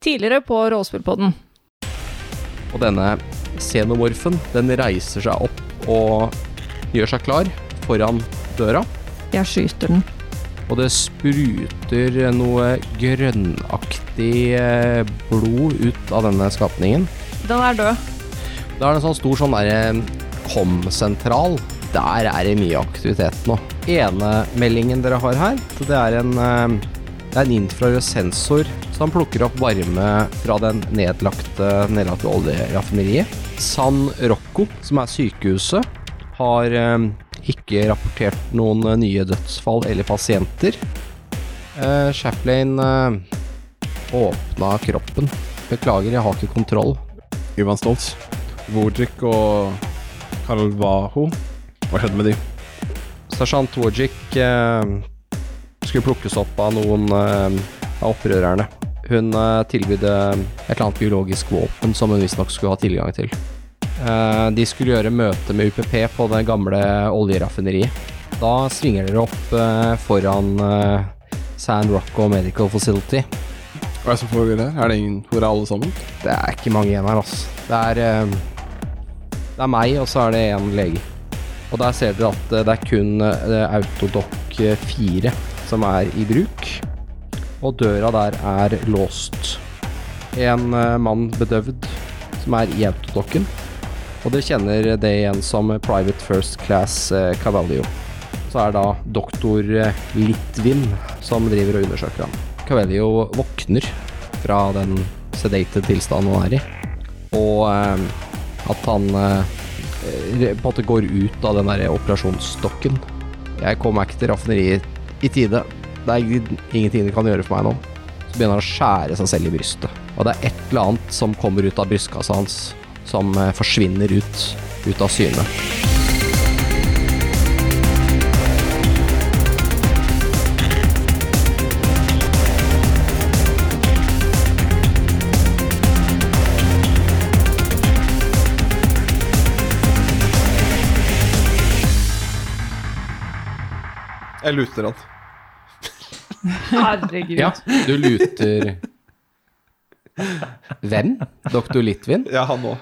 tidligere på Råspillpodden. Og denne xenomorfen, den reiser seg opp og gjør seg klar foran døra. Jeg skyter den. Og det spruter noe grønnaktig eh, blod ut av denne skapningen. Den er død. Da er det en sånn stor sånn derre kom-sentral. Der er det mye aktivitet nå. Ene meldingen dere har her, så det er en, eh, det er en infrarød sensor som plukker opp varme fra den nedlagte, nedlagte oljeraffineriet. San Rocco, som er sykehuset, har eh, ikke rapportert noen eh, nye dødsfall eller pasienter. Eh, Chaplain eh, åpna kroppen. Beklager, jeg har ikke kontroll. Ivan Stoltz, Vodrik og Calvajo. Hva skjedde med de? Sersjant Wojcik eh, skulle plukkes opp av noen eh, av opprørerne. Hun eh, tilbød eh, et eller annet biologisk våpen som hun visstnok skulle ha tilgang til. Eh, de skulle gjøre møte med UPP på det gamle oljeraffineriet. Da svinger dere opp eh, foran eh, San Rocco Medical Facility. Hva er det som foregår der? Er det ingen, hvor er alle sammen? Det er ikke mange igjen her, altså. Det er, eh, det er meg, og så er det én lege. Og der ser dere at eh, det er kun eh, Autodoc 4 som er i bruk. Og døra der er låst. En eh, mann bedøvd som er i Autodocen. Og dere kjenner det igjen som Private First Class eh, Cavallio. Så er da doktor eh, Litvin som driver og undersøker ham. Cavallio våkner fra den sedate tilstanden han er i. Og eh, at han eh, re- på en måte går ut av den der operasjonsstokken. Jeg kom meg ikke til raffineriet i tide. Det er ingenting du kan gjøre for meg nå. Så begynner han å skjære seg selv i brystet. Og det er et eller annet som kommer ut av brystkassa hans, som eh, forsvinner ut, ut av syne. Jeg luter han. Herregud. Ja, du luter Hvem? Doktor Litvin? Ja, han òg.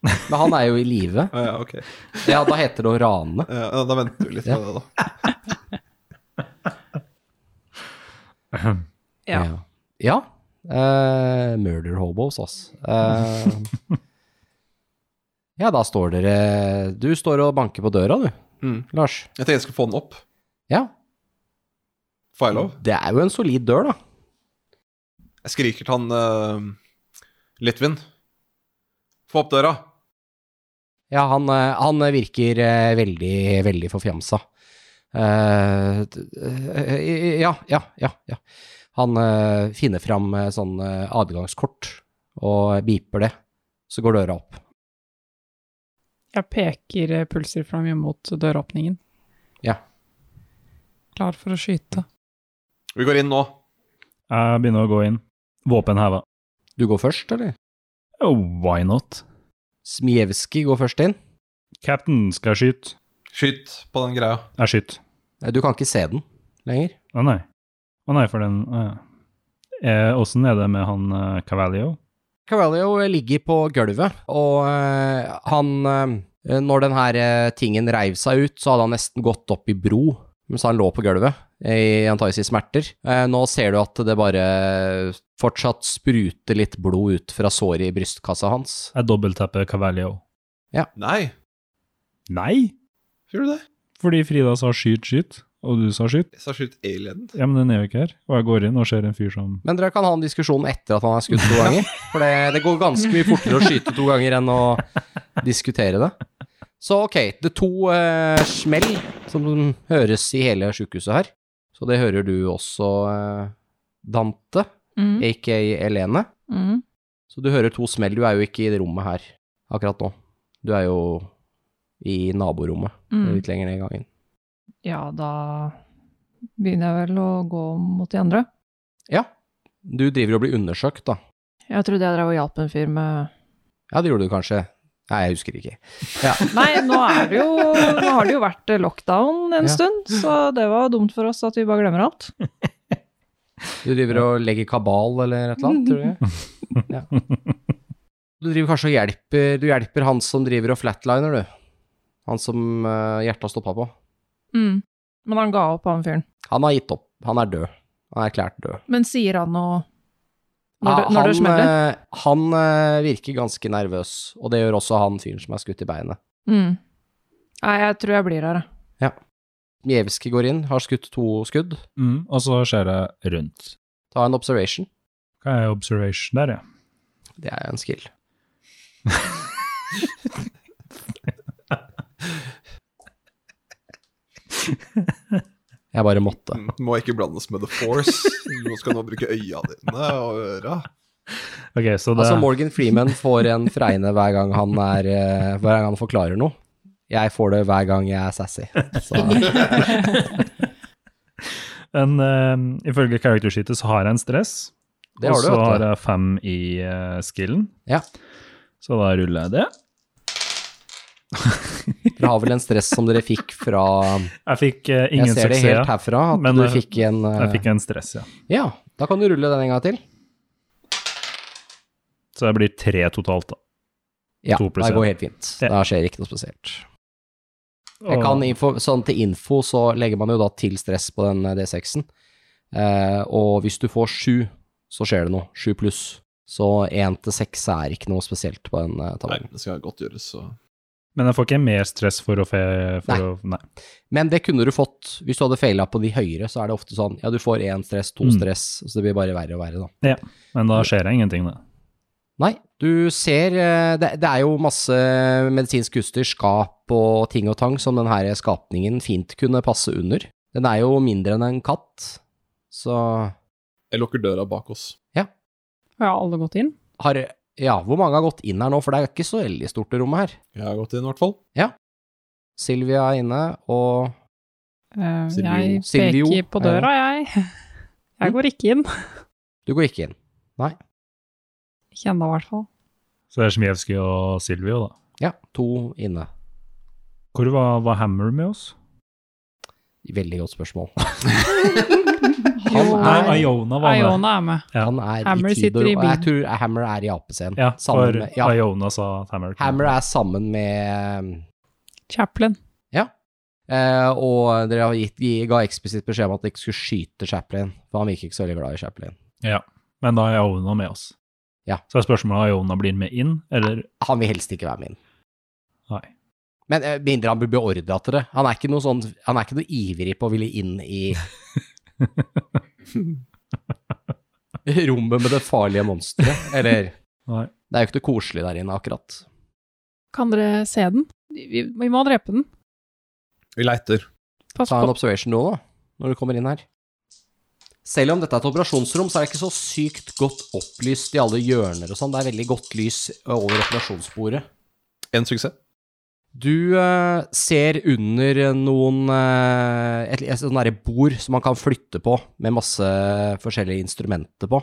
Men han er jo i live. Ja, ja, ok. Ja, da heter det å rane. Ja, da venter vi litt Ja. med det, da. Ja. Ja. ja. Eh, murder hobos, ass. Eh, ja, da står dere Du står og banker på døra, du, Mm. Lars. Jeg tenkte jeg skulle få den opp. Ja. Får jeg lov? Det er jo en solid dør, da. Jeg skriker til han eh, Litvin. Få opp døra! Ja, han, eh, han virker eh, veldig, veldig forfjamsa. Eh, d- eh, ja, ja, ja, ja. Han eh, finner fram eh, sånn eh, adgangskort og biper det. Så går døra opp. Jeg peker eh, pulsrifla mi mot døråpningen. Ja. Klar for å skyte. Vi går inn nå. Jeg begynner å gå inn. Våpen heva. Du går først, eller? Oh, why not? Smijevskij går først inn. Captain, skal jeg skyte? Skyt på den greia. Jeg skyter. Eh, Du kan ikke se den lenger. Å nei. Å nei, for den Åssen eh, hvordan er det med han eh, Cavalio? Carvalho ligger på gulvet, og eh, han eh, Når den her eh, tingen reiv seg ut, så hadde han nesten gått opp i bro mens han lå på gulvet, i antakeligvis i smerter. Eh, nå ser du at det bare fortsatt spruter litt blod ut fra såret i brystkassa hans. Jeg dobbelttapper Cavalio. Nei, Nei! gjorde du det? Fordi Frida sa skyt, skyt, og du sa skyt. Jeg sa skyt alienen. Ja, men den er jo ikke her. Og jeg går inn og ser en fyr som Men dere kan ha en diskusjon etter at han er skutt to ganger, for det, det går ganske mye fortere å skyte to ganger enn å diskutere det. Så ok, det er to eh, smell som høres i hele sykehuset her. Så det hører du også, eh, Dante, Mm. aka Elene. Mm. Så du hører to smell, du er jo ikke i det rommet her akkurat nå. Du er jo i naborommet, Mm. litt lenger ned i gangen. Ja, da begynner jeg vel å gå mot de andre. Ja, du driver og blir undersøkt da. Jeg trodde jeg drev og hjalp en fyr med Ja, det gjorde du kanskje. Nei, jeg husker ikke. Nei, nå, er det jo, nå har det jo vært lockdown en Ja. stund, så det var dumt for oss at vi bare glemmer alt. Du driver og legger kabal eller et eller annet, tror du ikke? Ja. Du driver kanskje og hjelper Du hjelper han som driver og flatliner, du. Han som eh, hjertet stoppa på. Mm. Men han ga opp, han fyren. Han har gitt opp. Han er død. Han er erklært død. Men sier han noe Ja, når, det- når han, det smeller? eh, Han eh, virker ganske nervøs, og det gjør også han fyren som er skutt i beinet. Mm. Nei, jeg tror jeg blir her, jeg. Mjevskij går inn, har skutt to skudd. Mm, og så skjer det rundt. Ta en observation. Hva er observation der, ja? Det er en skill. Jeg bare måtte. Mm, Må ikke blandes med the force. Du skal nå bruke øya dine og øra. Ok, så det Altså, Morgan Freeman får en fregne hver gang han, er, eh, hver gang han forklarer noe. Jeg får det hver gang jeg er sassy. Så, en, eh, Ifølge character sheetet så har jeg en stress. det har du, og så vet har du. jeg fem i eh, skillen. Ja. Så da ruller jeg det. Dere har vel en stress som dere fikk fra Jeg fikk eh, Jeg ingen ser det helt suksess. herfra, at men, du eh, fikk en eh, Jeg fikk en stress, ja. Ja, da kan du rulle den en gang til. Så jeg blir tre totalt, da. Ja, To pluss det en. går helt fint. Ja. Da skjer ikke noe spesielt. Jeg Og- kan info, sånn til info så legger man jo da til stress på den eh, D6-en. Eh, og hvis du får sju, så skjer det noe. Sju pluss. Så én til seks er ikke noe spesielt på den eh, Nei, tavlen. det skal godt gjøres, så Men jeg får ikke mer stress for å fe... For Nei. Å, nei. Men det kunne du fått hvis du hadde feila på de høyere, så er det ofte sånn ja, du får én stress, to Mm. stress, så det blir bare verre og verre, da. Men da skjer det ingenting, da. Nei, du ser eh, Det, det er jo masse medisinsk utstyr, skap og ting og tang som den her skapningen fint kunne passe under. Den er jo mindre enn en katt, så Jeg lukker døra bak oss. Har alle gått inn? har Ja, hvor mange har gått inn her nå, for det er ikke så veldig stort det rommet her. Jeg har gått inn, i hvert fall. Silvia er inne, og Eh, Silvio. jeg Silvio, peker på er det? døra, jeg. Jeg går ikke inn. du går ikke inn. Ikke ennå, i hvert fall. Så det er Smijevskij og Silvio, da. Ja, to inne. Hvor var, var Hammer med oss? Veldig godt spørmål. Jo, Nei, Nei, Iona var med. Iona er med. Ja. Han er Hammer i Tudor, sitter og i jeg bilen. tror Hammer er i apescenen. Ja, sammen for med- ja. Iona sa at Hammer kom. Hammer er sammen med Chaplin. Eh, og dere har gitt, gi- ga eksplisitt beskjed om at dere ikke skulle skyte Chaplin, for han virker ikke så veldig glad i Chaplin. Men da er Iona med oss. Ja. Så er spørsmålet om Iona blir med inn, eller Han vil helst ikke være med inn. Nei. Men eh, mindre han blir beordra til det. Han er ikke noe sånn, han er ikke noe ivrig på å ville inn i rommet med det farlige monsteret. Eller Nei. Det er jo ikke noe koselig der inne, akkurat. Kan dere se den? Vi, vi må drepe den. Vi leiter. Pass Ta en på. observation nå, da, når du kommer inn her. Selv om dette er et operasjonsrom, så er det ikke så sykt godt opplyst i alle hjørner og sånn. Det er veldig godt lys over operasjonsbordet. En suksess. Du eh, ser under noen eh, et, et sånn derre bord som man kan flytte på, med masse forskjellige instrumenter på.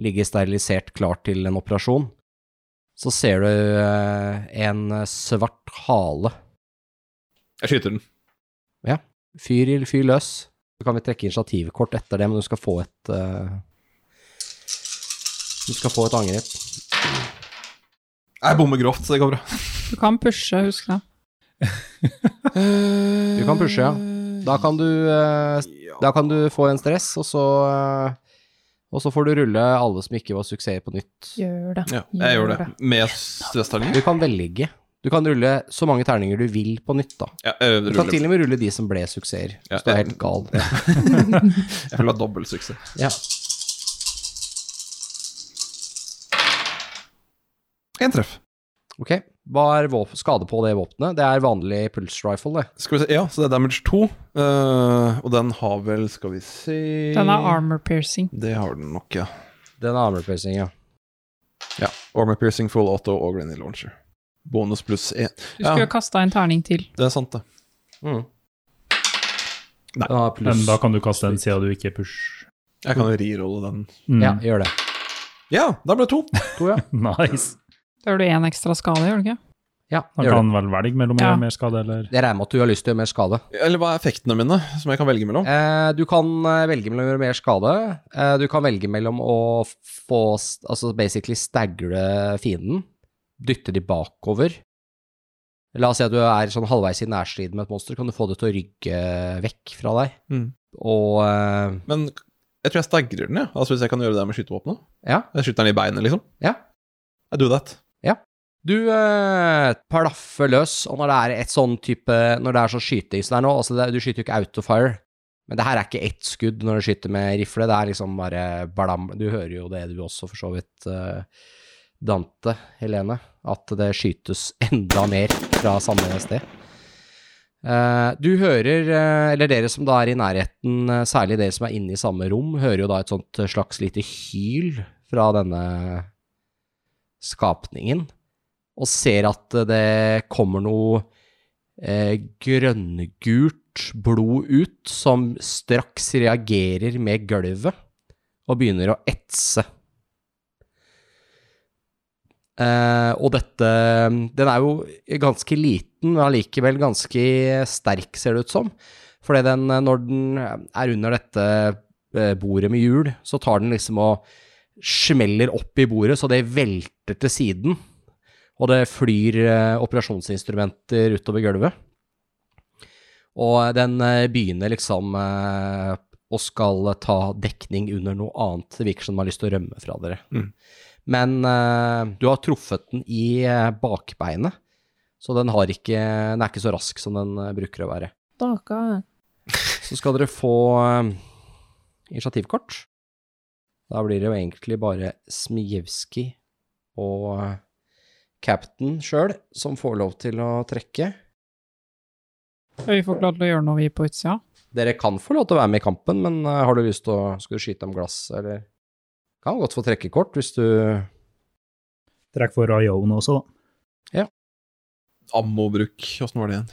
Ligger sterilisert klar til en operasjon. Så ser du eh, en svart hale. Jeg skyter den. Fyr, i- fyr løs. Så kan vi trekke initiativkort etter det, men du skal få et eh, Du skal få et angrep. Jeg bommer grovt, så det går bra. Du kan pushe, husk det. Du kan pushe, ja. Da kan du eh, Ja. Da kan du få en stress, og så, eh, og så får du rulle alle som ikke var suksess på nytt. Gjør det. Ja, jeg gjør det. Med stressterninger? Du kan velge. Du kan rulle så mange terninger du vil på nytt, da. Ja, jeg Du kan ruller. til og med rulle de som ble suksesser, Ja, hvis du er ja. helt gal. Jeg vil ha dobbel suksess. Ja. Én treff. Ok. Hva er våp- skade på det våpenet? Det er vanlig pulse rifle, det. Skal vi se, ja, så det er damage 2, og den har vel, skal vi se Den er armor piercing. Det har den nok, ja. Den er armor piercing, ja. ja. Armor piercing, full auto og granny launcher. Bonus pluss én. Du Ja. skulle ha kasta en terning til. Det er sant, det. Mm. Nei. Den har Men pluss da kan du kaste den siden du ikke push. Jeg kan jo rirolle den. Mm. Ja, gjør det. Ja, da ble det to. To, ja. Nice. Da gjør du én ekstra skade, gjør du ikke? Ja, Han gjør det. kan vel velge mellom å Ja. gjøre mer skade eller Jeg regner med at du har lyst til å gjøre mer skade. Eller hva er effektene mine som jeg kan velge mellom? Eh, du kan eh, velge mellom å gjøre mer skade. Eh, du kan velge mellom å få s- Altså basically stagle fienden. Dytte de bakover. La oss si at du er sånn halvveis i nærstrid med et monster. Kan du få det til å rygge vekk fra deg? Mm. Og eh, Men jeg tror jeg stagrer den, jeg. Altså hvis jeg kan gjøre det med skytevåpenet. ja. Jeg skyter den i beinet, liksom. Ja. I do that. Du eh, plaffer løs, og når det er et sånn type Når det er sånn skyting som det er nå altså det, Du skyter jo ikke autofire, men det her er ikke ett skudd når du skyter med rifle. Det er liksom bare blam Du hører jo det du også, for så vidt, eh, Dante, Helene, at det skytes enda mer fra samme sted. Eh, du hører, eh, eller dere som da er i nærheten, eh, særlig dere som er inne i samme rom, hører jo da et sånt eh, slags lite hyl fra denne skapningen og ser at det kommer noe eh, grønngult blod ut, som straks reagerer med gulvet og begynner å etse. Eh, og dette Den er jo ganske liten, men allikevel ganske sterk, ser det ut som. Fordi den, eh, når den er under dette eh, bordet med hjul, så tar den liksom og smeller opp i bordet, så det velter til siden og det flyr eh, operasjonsinstrumenter utover gulvet. Og den eh, begynner liksom eh, å skal ta dekning under noe annet. Det virker som den har lyst til å rømme fra dere. Mm. Men eh, du har truffet den i eh, bakbeinet, så den, har ikke, den er ikke så rask som den eh, bruker å være. Daga. Så skal dere få eh, initiativkort. Da blir det jo egentlig bare Smijevskij og eh, captain sjøl som får lov til å trekke. Og vi får ikke lov til å gjøre noe, vi på utsida. Dere kan få lov til å være med i kampen, men eh, har du lyst til å Skal du skyte om glass, eller Kan godt få trekkekort hvis du Trekk for Rayon også, da. Ammobruk, åssen var det igjen?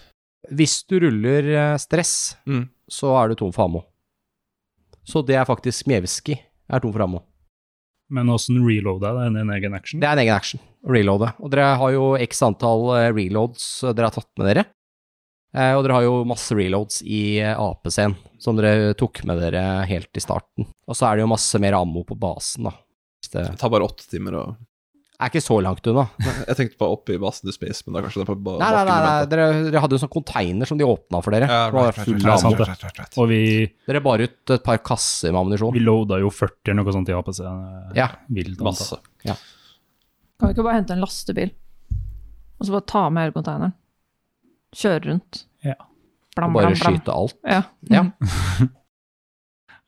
Hvis du ruller eh, stress, Mm. så er du tom for ammo. Så det er faktisk Smijevskij er tom for ammo. Men åssen reloada er det? En- En egen action? Det er en egen action. Reloade. Og dere har jo x antall eh, reloads eh, dere har tatt med dere. Eh, Og dere har jo masse reloads i eh, AP-scenen, som dere tok med dere helt i starten. Og så er det jo masse mer ammo på basen, da. Hvis Det Det tar bare åtte timer å er ikke så langt unna. Nei, Jeg tenkte bare oppe i basen til Space, men da kanskje det er på ba nei, nei, nei, bakken dere, dere hadde jo sånn container som de åpna for dere. Ja, Det var right, right, full Nei, av sant ammo. det. Og vi, Dere bar ut et par kasser med vi ammunisjon. loada jo 40 eller noe sånt i APC. eh, Ja. Vilt antall. Masse. Kan vi ikke bare hente en lastebil, og så bare ta med hele konteineren? Kjøre rundt. Ja. Blam, Bare blam, blam. skyte alt. Ja. Ja.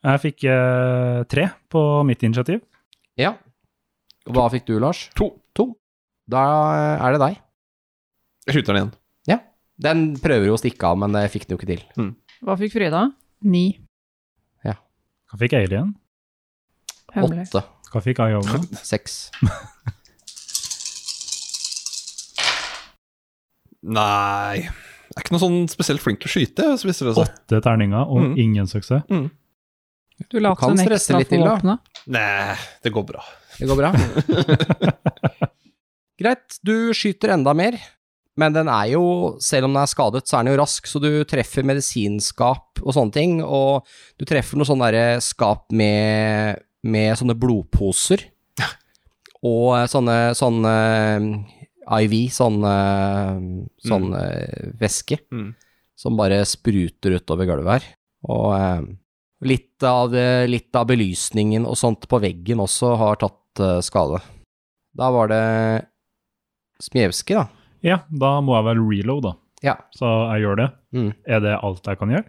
Jeg fikk eh, tre på mitt initiativ. Ja. Hva fikk du, Lars? To. To. Da eh, er det deg. Jeg skyter den igjen. Den prøver jo å stikke av, men det fikk den jo ikke til. Hva fikk Frida? Ni. Hva fikk Alien? Hemmelig. Åtte. Hva fikk Iona? Hm. Seks. Nei Jeg er ikke noe sånn spesielt flink til å skyte, så viser det seg. Åtte terninger og Mm. ingen suksess. Du Du kan later som en stresse ekstra litt for til, da. våpenet. Nei, det går bra. Det går bra. Greit, du skyter enda mer, men den er jo, selv om den er skadet, så er den jo rask, så du treffer medisinskap og sånne ting, og du treffer noe sånn derre skap med, med sånne blodposer, og eh, sånne, sånn eh, IV, sånn, eh, sånn eh, væske, Mm. som bare spruter utover gulvet her, og eh, Litt av, det- litt av belysningen og sånt på veggen også har tatt eh, skade. Da var det Smjevski, da. Ja, da må jeg vel reloade, da. Ja. Så jeg gjør det. Mm. Er det alt jeg kan gjøre?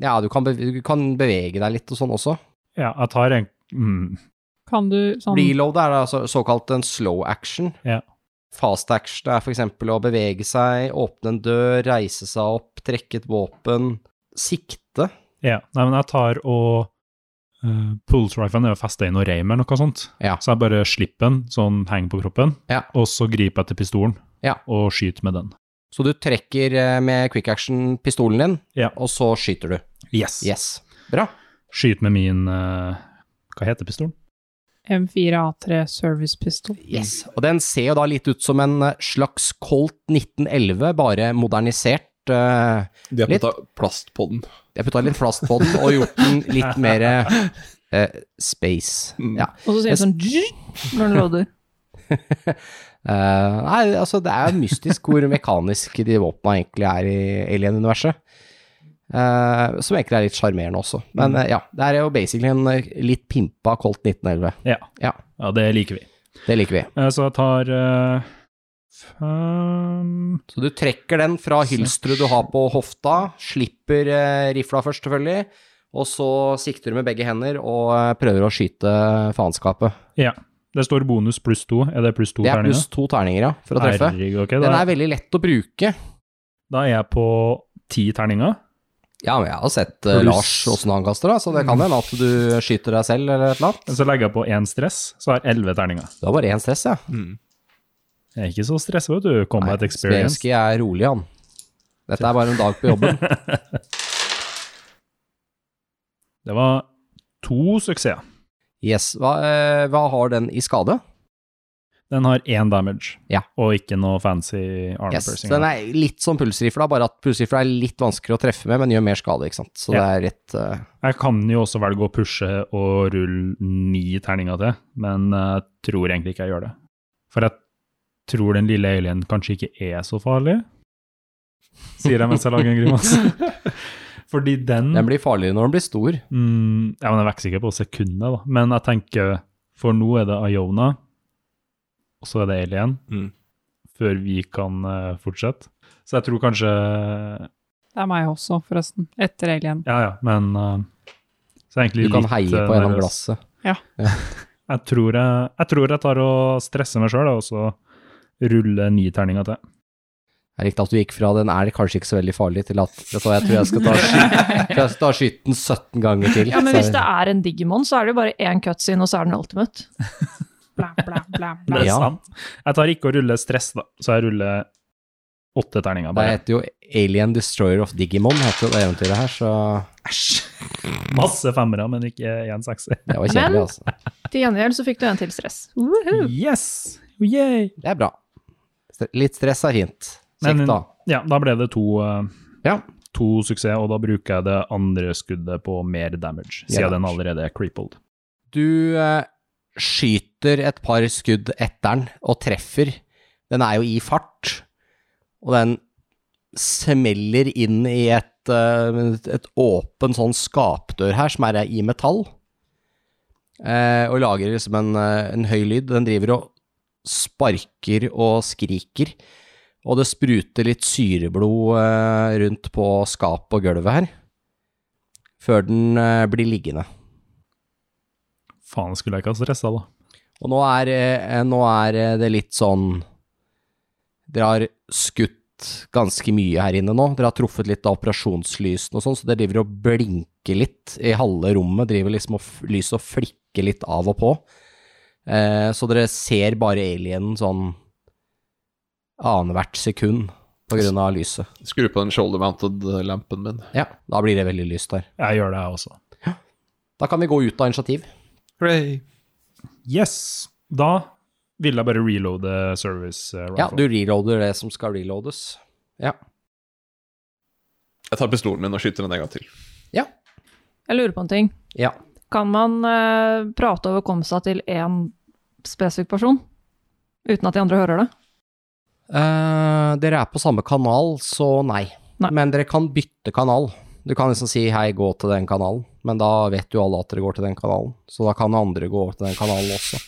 Ja, du kan, beve du kan bevege deg litt og sånn også. Ja, jeg tar en mm. Kan du sånn Reload er da så, såkalt en slow action. Ja. Fast action er for eksempel å bevege seg, åpne en dør, reise seg opp, trekke et våpen, sikte. Ja, nei, men jeg tar og uh, Pulse-riflen er jo festet i noe reim eller noe sånt. Ja. Så jeg bare slipper den, så den henger på kroppen, Ja. og så griper jeg til pistolen Ja. og skyter med den. Så du trekker eh, med quick action pistolen din, Ja. og så skyter du. Yes. Yes. Bra. Skyter med min eh, Hva heter pistolen? M4A3 Service Pistol. Yes. Og den ser jo da litt ut som en eh, slags Colt 1911, bare modernisert. eh, De har Litt. putta plast på den. Jeg putta litt plast på den og gjort den litt mer eh, space. Mm. Ja. Og så sier det sånn «Dzz» når den låder. Eh, nei, altså det er mystisk hvor mekaniske de våpna egentlig er i Alien-universet. Eh, som egentlig er litt sjarmerende også. Men eh, ja, det er jo basically en eh, litt pimpa Colt 1911. Ja. Ja. ja, det liker vi. Det liker vi. Eh, Så jeg tar eh, fem Så du trekker den fra hylsteret du har på hofta, slipper eh, rifla først selvfølgelig, og så sikter du med begge hender og eh, prøver å skyte faenskapet. Ja. Det står bonus pluss to. Er det pluss to Det er terninger? pluss to terninger, ja, for å treffe. Herregud, ok, Den da, er veldig lett å bruke. da er jeg på ti terninger. Ja, men jeg har Mm. sett eh, Pluss- Lars åssen han kaster, da, så det kan hende at du skyter deg selv eller et eller annet. Så legger jeg på én stress, så har jeg elleve terninger. Du har bare én stress, ja. Mm. Jeg er ikke så stressa, vet du. Combat experience. Spelski er rolig, han. Dette er bare en dag på jobben. Det var to suksesser. Yes. Hva, eh, hva har den i skade? Den har én damage, Ja. og ikke noe fancy arm Yes. Så piercing. den er litt som pulsrifla, bare at pulsrifla er litt vanskeligere å treffe med, men gjør mer skade, ikke sant. Så det Ja. er rett eh, Jeg kan jo også velge å pushe og rulle ni terninger til, men jeg tror egentlig ikke jeg gjør det. For jeg tror den lille alien kanskje ikke er så farlig, sier jeg mens jeg lager en grimase. Fordi den, Den blir farligere når den blir stor. mm, Ja, men jeg vokser ikke på sekundet, da. Men jeg tenker, for nå er det Iona, og så er det alien, Mm. før vi kan eh, fortsette. Så jeg tror kanskje Det er meg også, forresten. Etter Alien. Ja, ja, men eh, så jeg er egentlig Du kan litt, heie eh, på gjennom nervøs. glasset. Jeg tror jeg, jeg tror jeg tar og stresser meg sjøl, og så ruller ni terninger til. Jeg likte at du gikk fra den er kanskje ikke så veldig farlig, til at vet du hva, jeg tror jeg skal ta, sky jeg skal ta skyten 17 ganger til. Ja, men Så- hvis det er en Digimon, så er det jo bare én cutscene, og så er den ultimate. Bla, bla, bla, Det bla. er Ja. sant. Jeg tar ikke å rulle stress, da, så jeg ruller åtte terninger Det bare. heter jo Alien Destroyer of Digimon, heter jo det eventyret her, så Masse femmere, men ikke én sekser. det var kjedelig, Men- altså. Til gjengjeld så fikk du en til stress. Woohoo! Yes! Yay! Det er bra. Stre- Litt stress er fint. Men- Sikt, da. Ja, da ble det to, eh, Ja. to suksess, og da bruker jeg det andre skuddet på mer damage, Mer siden den damage. allerede er crippled. Du eh, skyter et par skudd etter den, og treffer. Den er jo i fart, og den smeller inn i et, eh, et åpen sånn skapdør her, som er i metall, eh, og lager liksom en, eh, en høy lyd. Den driver og sparker og skriker, og det spruter litt syreblod eh, rundt på skapet og gulvet her, før den eh, blir liggende. Faen, skulle jeg ikke ha stressa, da. Og nå er, eh, nå er eh, det litt sånn Dere har skutt ganske mye her inne nå. Dere har truffet litt av operasjonslysene og sånn, så det driver og blinker litt i halve rommet. Driver liksom og f- lyset og flikker litt av og på. Eh, så dere ser bare alienen sånn annethvert sekund på grunn av lyset. Skru på den shoulder mounted-lampen min. Ja, da blir det veldig lyst der. Jeg gjør det, jeg også. Da kan vi gå ut av initiativ. Hooray. Yes! Da vil jeg bare reloade service eh, rifle. Ja, du reloader det som skal reloades. Ja. Jeg tar pistolen min og skyter den en gang til. Jeg lurer på en ting. Ja. Kan man eh, prate over komsa til én spesifikk person? Uten at de andre hører det? Eh, dere er på samme kanal, så nei. Nei. Men dere kan bytte kanal. Du kan liksom si hei, gå til den kanalen, men da vet jo alle at dere går til den kanalen. Så da kan andre gå over til den kanalen også.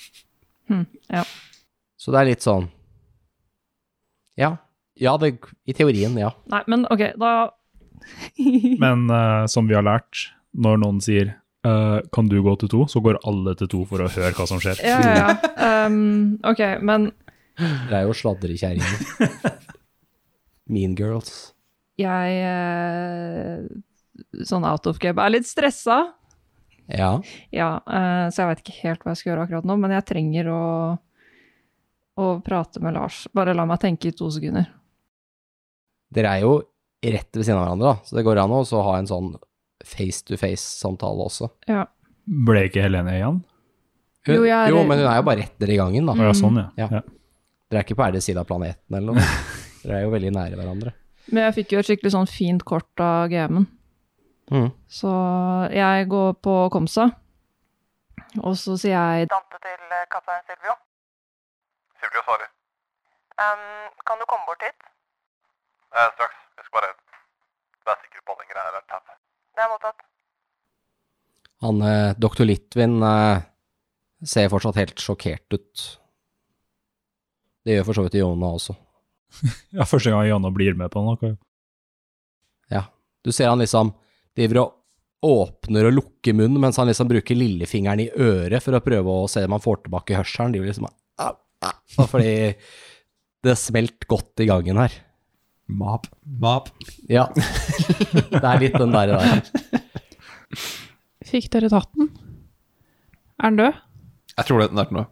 Hm, ja. Så det er litt sånn Ja. Ja, det, i teorien, ja. Nei, men ok, da Men eh, som vi har lært, når noen sier eh, 'kan du gå til to', så går alle til to for å høre hva som skjer. Ja, ja, ja. Ehm, ok, men Det er jo sladrekjerringene. mean girls. jeg eh, Sånn out of game er litt stressa. Ja. Ja, eh, så jeg veit ikke helt hva jeg skal gjøre akkurat nå, men jeg trenger å, å prate med Lars. Bare la meg tenke i to sekunder. Dere er jo rett ved siden av hverandre, da, så det går an å også ha en sånn face to face-samtale også. Ja. Ble ikke Helene igjen? Hun, Jo, jo, jeg er- men hun er jo bare rett der i gangen, da. Å ja, sånn, ja. Ja. ja. Dere er ikke på hver deres side av planeten eller noe. Dere er jo veldig nære hverandre. Men jeg fikk jo et skikkelig sånn fint kort av GM-en. Mm. Så jeg går på Komsa, og så sier jeg Dante til eh, kaptein Silvio. Silvio svarer. Ehm, kan du komme bort hit? Eh, straks. Jeg skal bare være sikker på at den greia her er tap. Det er mottatt. Han eh, doktor Litvin eh, ser fortsatt helt sjokkert ut. Det gjør for så vidt Iona også. ja første gang Janne blir med på noe. Du ser han liksom driver og åpner og lukker munnen mens han liksom bruker lillefingeren i øret for å prøve å se om han får tilbake hørselen. De blir liksom au, au, bare fordi det smelt godt i gangen her. Map. Map. Ja. Det er litt den der. der. Fikk dere tatt den? Er den død? Jeg tror det den er til nå.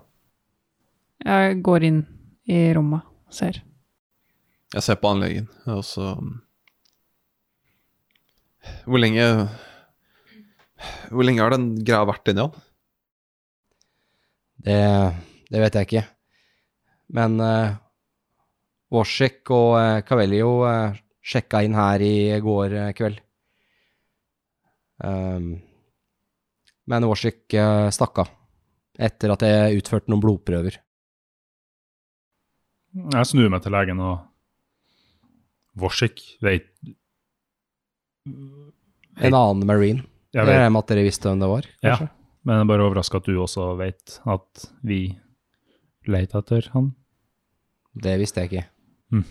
Jeg går inn i rommet og ser. Jeg ser på anlegen, og så um, Hvor lenge Hvor lenge har den greia vært inni han? Det, det vet jeg ikke. Men uh, Worsek og eh, Cavellio eh, sjekka inn her i går eh, kveld. Ehm, men Worsek eh, stakk av etter at jeg utførte noen blodprøver. Jeg snur meg til legen og Vorsik vet En annen marine. Jeg det vet regner med at dere visste hvem det var? Ja, kanskje? men jeg er bare overraska at du også vet at vi leter etter han. Det visste jeg ikke. Mm.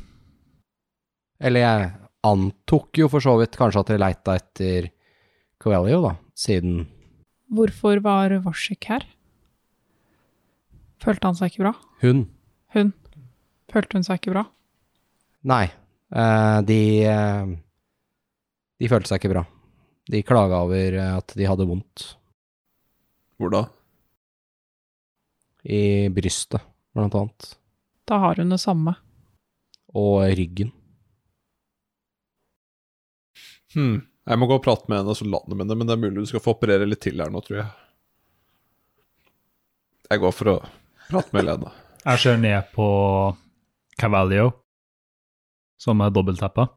Eller jeg antok jo for så vidt kanskje at dere leita etter Cavellio, da, siden Hvorfor var Vorsik her? Følte han seg ikke bra? hun Hun? Følte hun seg ikke bra? Nei, eh, de eh, De følte seg ikke bra. De klaga over eh, at de hadde vondt Hvor da? i brystet, blant annet, Da har hun det samme. og ryggen. Hmm. Jeg må gå og prate med en av soldatene mine, men det er mulig du skal få operere litt til her nå, tror jeg. Jeg går for å prate med Helene. Jeg ser ned på Cavallio, som er dobbelttappa,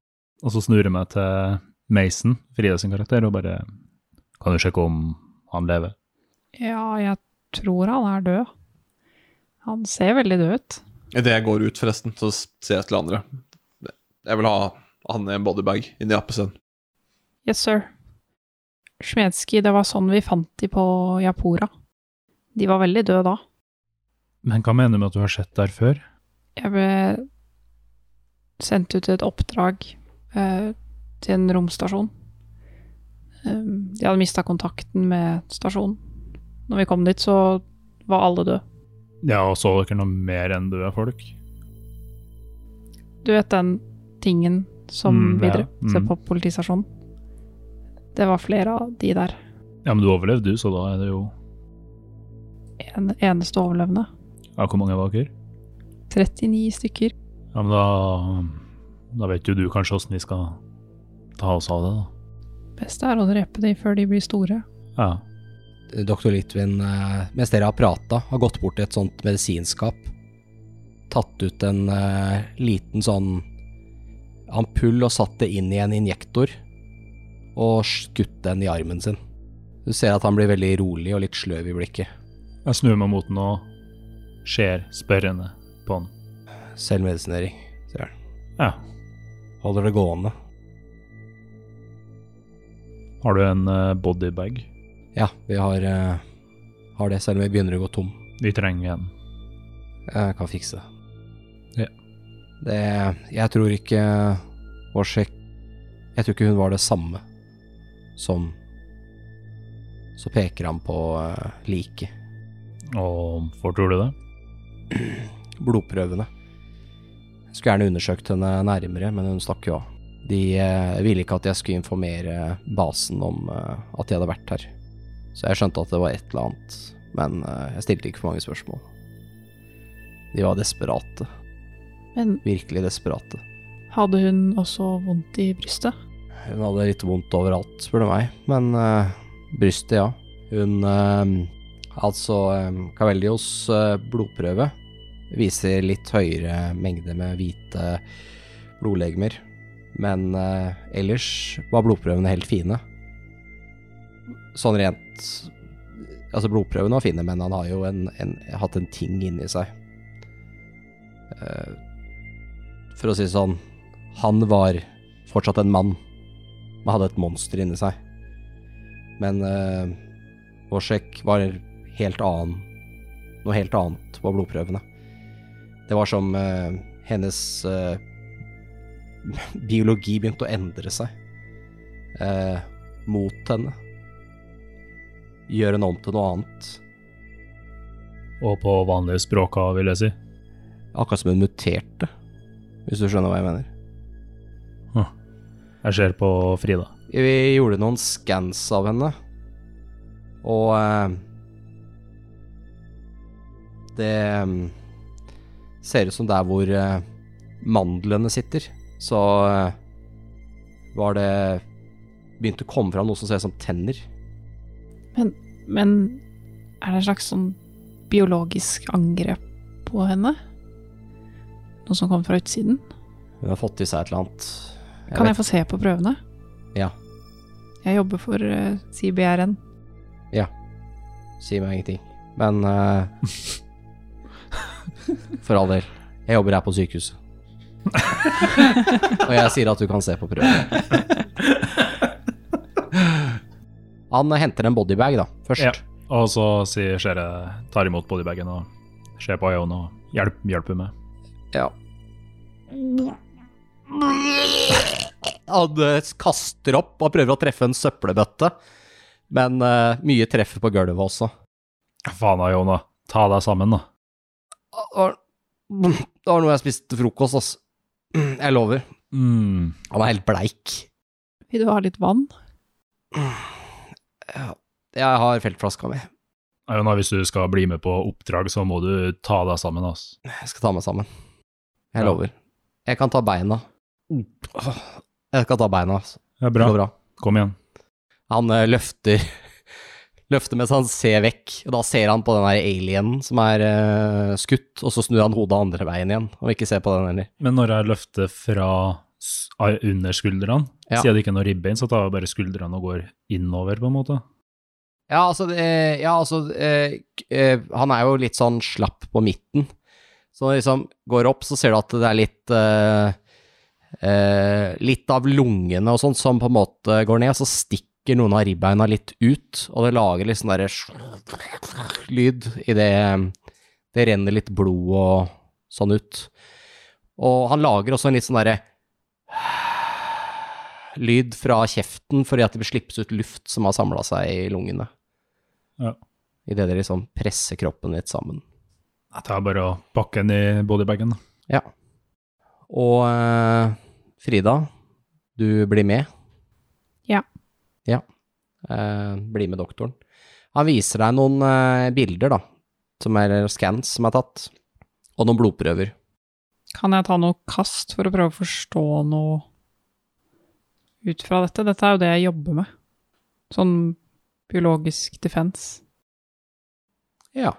og så snur jeg meg til Mason, Frida sin karakter, og bare Kan du sjekke om han lever? Ja, jeg tror han er død. Han ser veldig død ut. Idet jeg går ut, forresten, så ser jeg til andre. Jeg vil ha han i en bodybag inni jappesen. Yes, sir. Smedski, det var sånn vi fant de på Japora. De var veldig døde da. Men hva mener du med at du har sett der før? Jeg ble sendt ut til et oppdrag eh, til en romstasjon. Um, de hadde mista kontakten med stasjonen. Når vi kom dit, så var alle døde. Ja, og så dere noe mer enn døde folk? Du vet den tingen som Mm, vi ja, drev se mm. på politistasjonen? Det var flere av de der. Ja, men du overlevde, du, så da er det jo En, eneste overlevende. Ja, hvor mange var dere? 39 stykker. Ja, men da Da vet jo du kanskje åssen vi skal ta oss av det, da. Beste er å drepe de før de blir store. Ja. Doktor Litvin, eh, mens dere har prata, har gått bort til et sånt medisinskap. Tatt ut en eh, liten sånn ampull og satt det inn i en injektor. Og skutt den i armen sin. Du ser at han blir veldig rolig og litt sløv i blikket. Jeg snur meg mot den og ser spørrende på den. Selvmedisinering, sier han. Ja. Holder det gående. Har du en eh, bodybag? Ja, vi har, eh, har det, selv om vi begynner å gå tom. Vi trenger en. Jeg kan fikse det. Ja. Det Jeg tror ikke Warsek Jeg tror ikke hun var det samme som Så peker han på uh, liket. Og hvorfor tror du det? Blodprøvene. Jeg skulle gjerne undersøkt henne nærmere, men hun stakk jo av. De eh, ville ikke at jeg skulle informere basen om eh, at jeg hadde vært her. Så jeg skjønte at det var et eller annet, men eh, jeg stilte ikke for mange spørsmål. De var desperate. Men Virkelig desperate. hadde hun også vondt i brystet? Hun hadde litt vondt overalt, spør du meg. Men eh, brystet, ja. Hun eh, Altså, eh, Cavellios eh, blodprøve viser litt høyere mengde med hvite blodlegemer. Men eh, ellers var blodprøvene helt fine. Sånn rent Altså, blodprøvene var fine, men han har jo en, en, hatt en ting inni seg. Eh, For å si det sånn Han var fortsatt en mann, men hadde et monster inni seg. Men eh, Vorsek var helt annen Noe helt annet på blodprøvene. Det var som eh, hennes eh, biologi begynte å endre seg eh, mot henne. Gjøre henne om til noe annet. Og på vanlige språka, vil jeg si. Akkurat som hun muterte, hvis du skjønner hva jeg mener. Jeg ser på Frida. Vi gjorde noen scans av henne, og eh, Det eh, ser ut som der hvor eh, mandlene sitter, så eh, var det Begynte å komme fram noe som ser ut som tenner. Men er det en slags sånn biologisk angrep på henne? Noe som kommer fra utsiden? Hun har fått i seg et eller annet. Kan jeg få se på prøvene? Ja. Jeg jobber for eh, CBRN. Sier meg ingenting. Men eh, For all del. Jeg jobber her på sykehuset. Og jeg sier at du kan se på prøven. Han henter en bodybag, da, først. Ja. Og så sier Shere tar imot bodybagen og ser på Ion og hjelp, hjelper med. Ja. Han eh, kaster opp og prøver å treffe en søppelbøtte, men eh, mye treffer på gulvet også. Faen da, Ion, da. Ta deg sammen, da. Det var, det var noe jeg spiste til frokost, ass. Jeg lover. Mm. Han er helt bleik. Vil du ha litt vann? Ja, jeg har feltflaska mi. Iona, hvis du skal bli med på oppdrag, så må du ta deg sammen, ass. Jeg skal ta meg sammen. Jeg Ja. lover. Jeg kan ta beina. Jeg skal ta beina, altså. Ja, Det bra. går bra. Kom igjen. Han eh, løfter Løfter mens han ser vekk, og da ser han på den der alienen som er eh, skutt, og så snur han hodet andre veien igjen, og ikke ser på den heller. Men når jeg løfter fra s- a- under skuldrene, Ja. siden det ikke er noe ribbein, så tar jeg bare skuldrene og går innover, på en måte. Ja, altså, eh, ja, altså eh, k- eh, Han er jo litt sånn slapp på midten. Så når han liksom går opp, så ser du at det er litt eh, eh, Litt av lungene og sånt som på en måte går ned, og så stikker noen av ribbeina litt ut, og det lager litt sånn derre lyd i det Det renner litt blod og sånn ut. Og han lager også en litt sånn derre lyd fra kjeften fordi at det slippes ut luft som har samla seg i lungene. Ja. Idet det liksom presser kroppen litt sammen. Jeg tar bare og pakker den i bodybagen. da. Ja. Og eh, Frida, du blir med? Ja. Ja. Eh, bli med doktoren. Han viser deg noen eh, bilder, da, som er scans som er tatt, og noen blodprøver. Kan jeg ta noe kast for å prøve å forstå noe ut fra dette? Dette er jo det jeg jobber med. Sånn biologisk defense. Ja.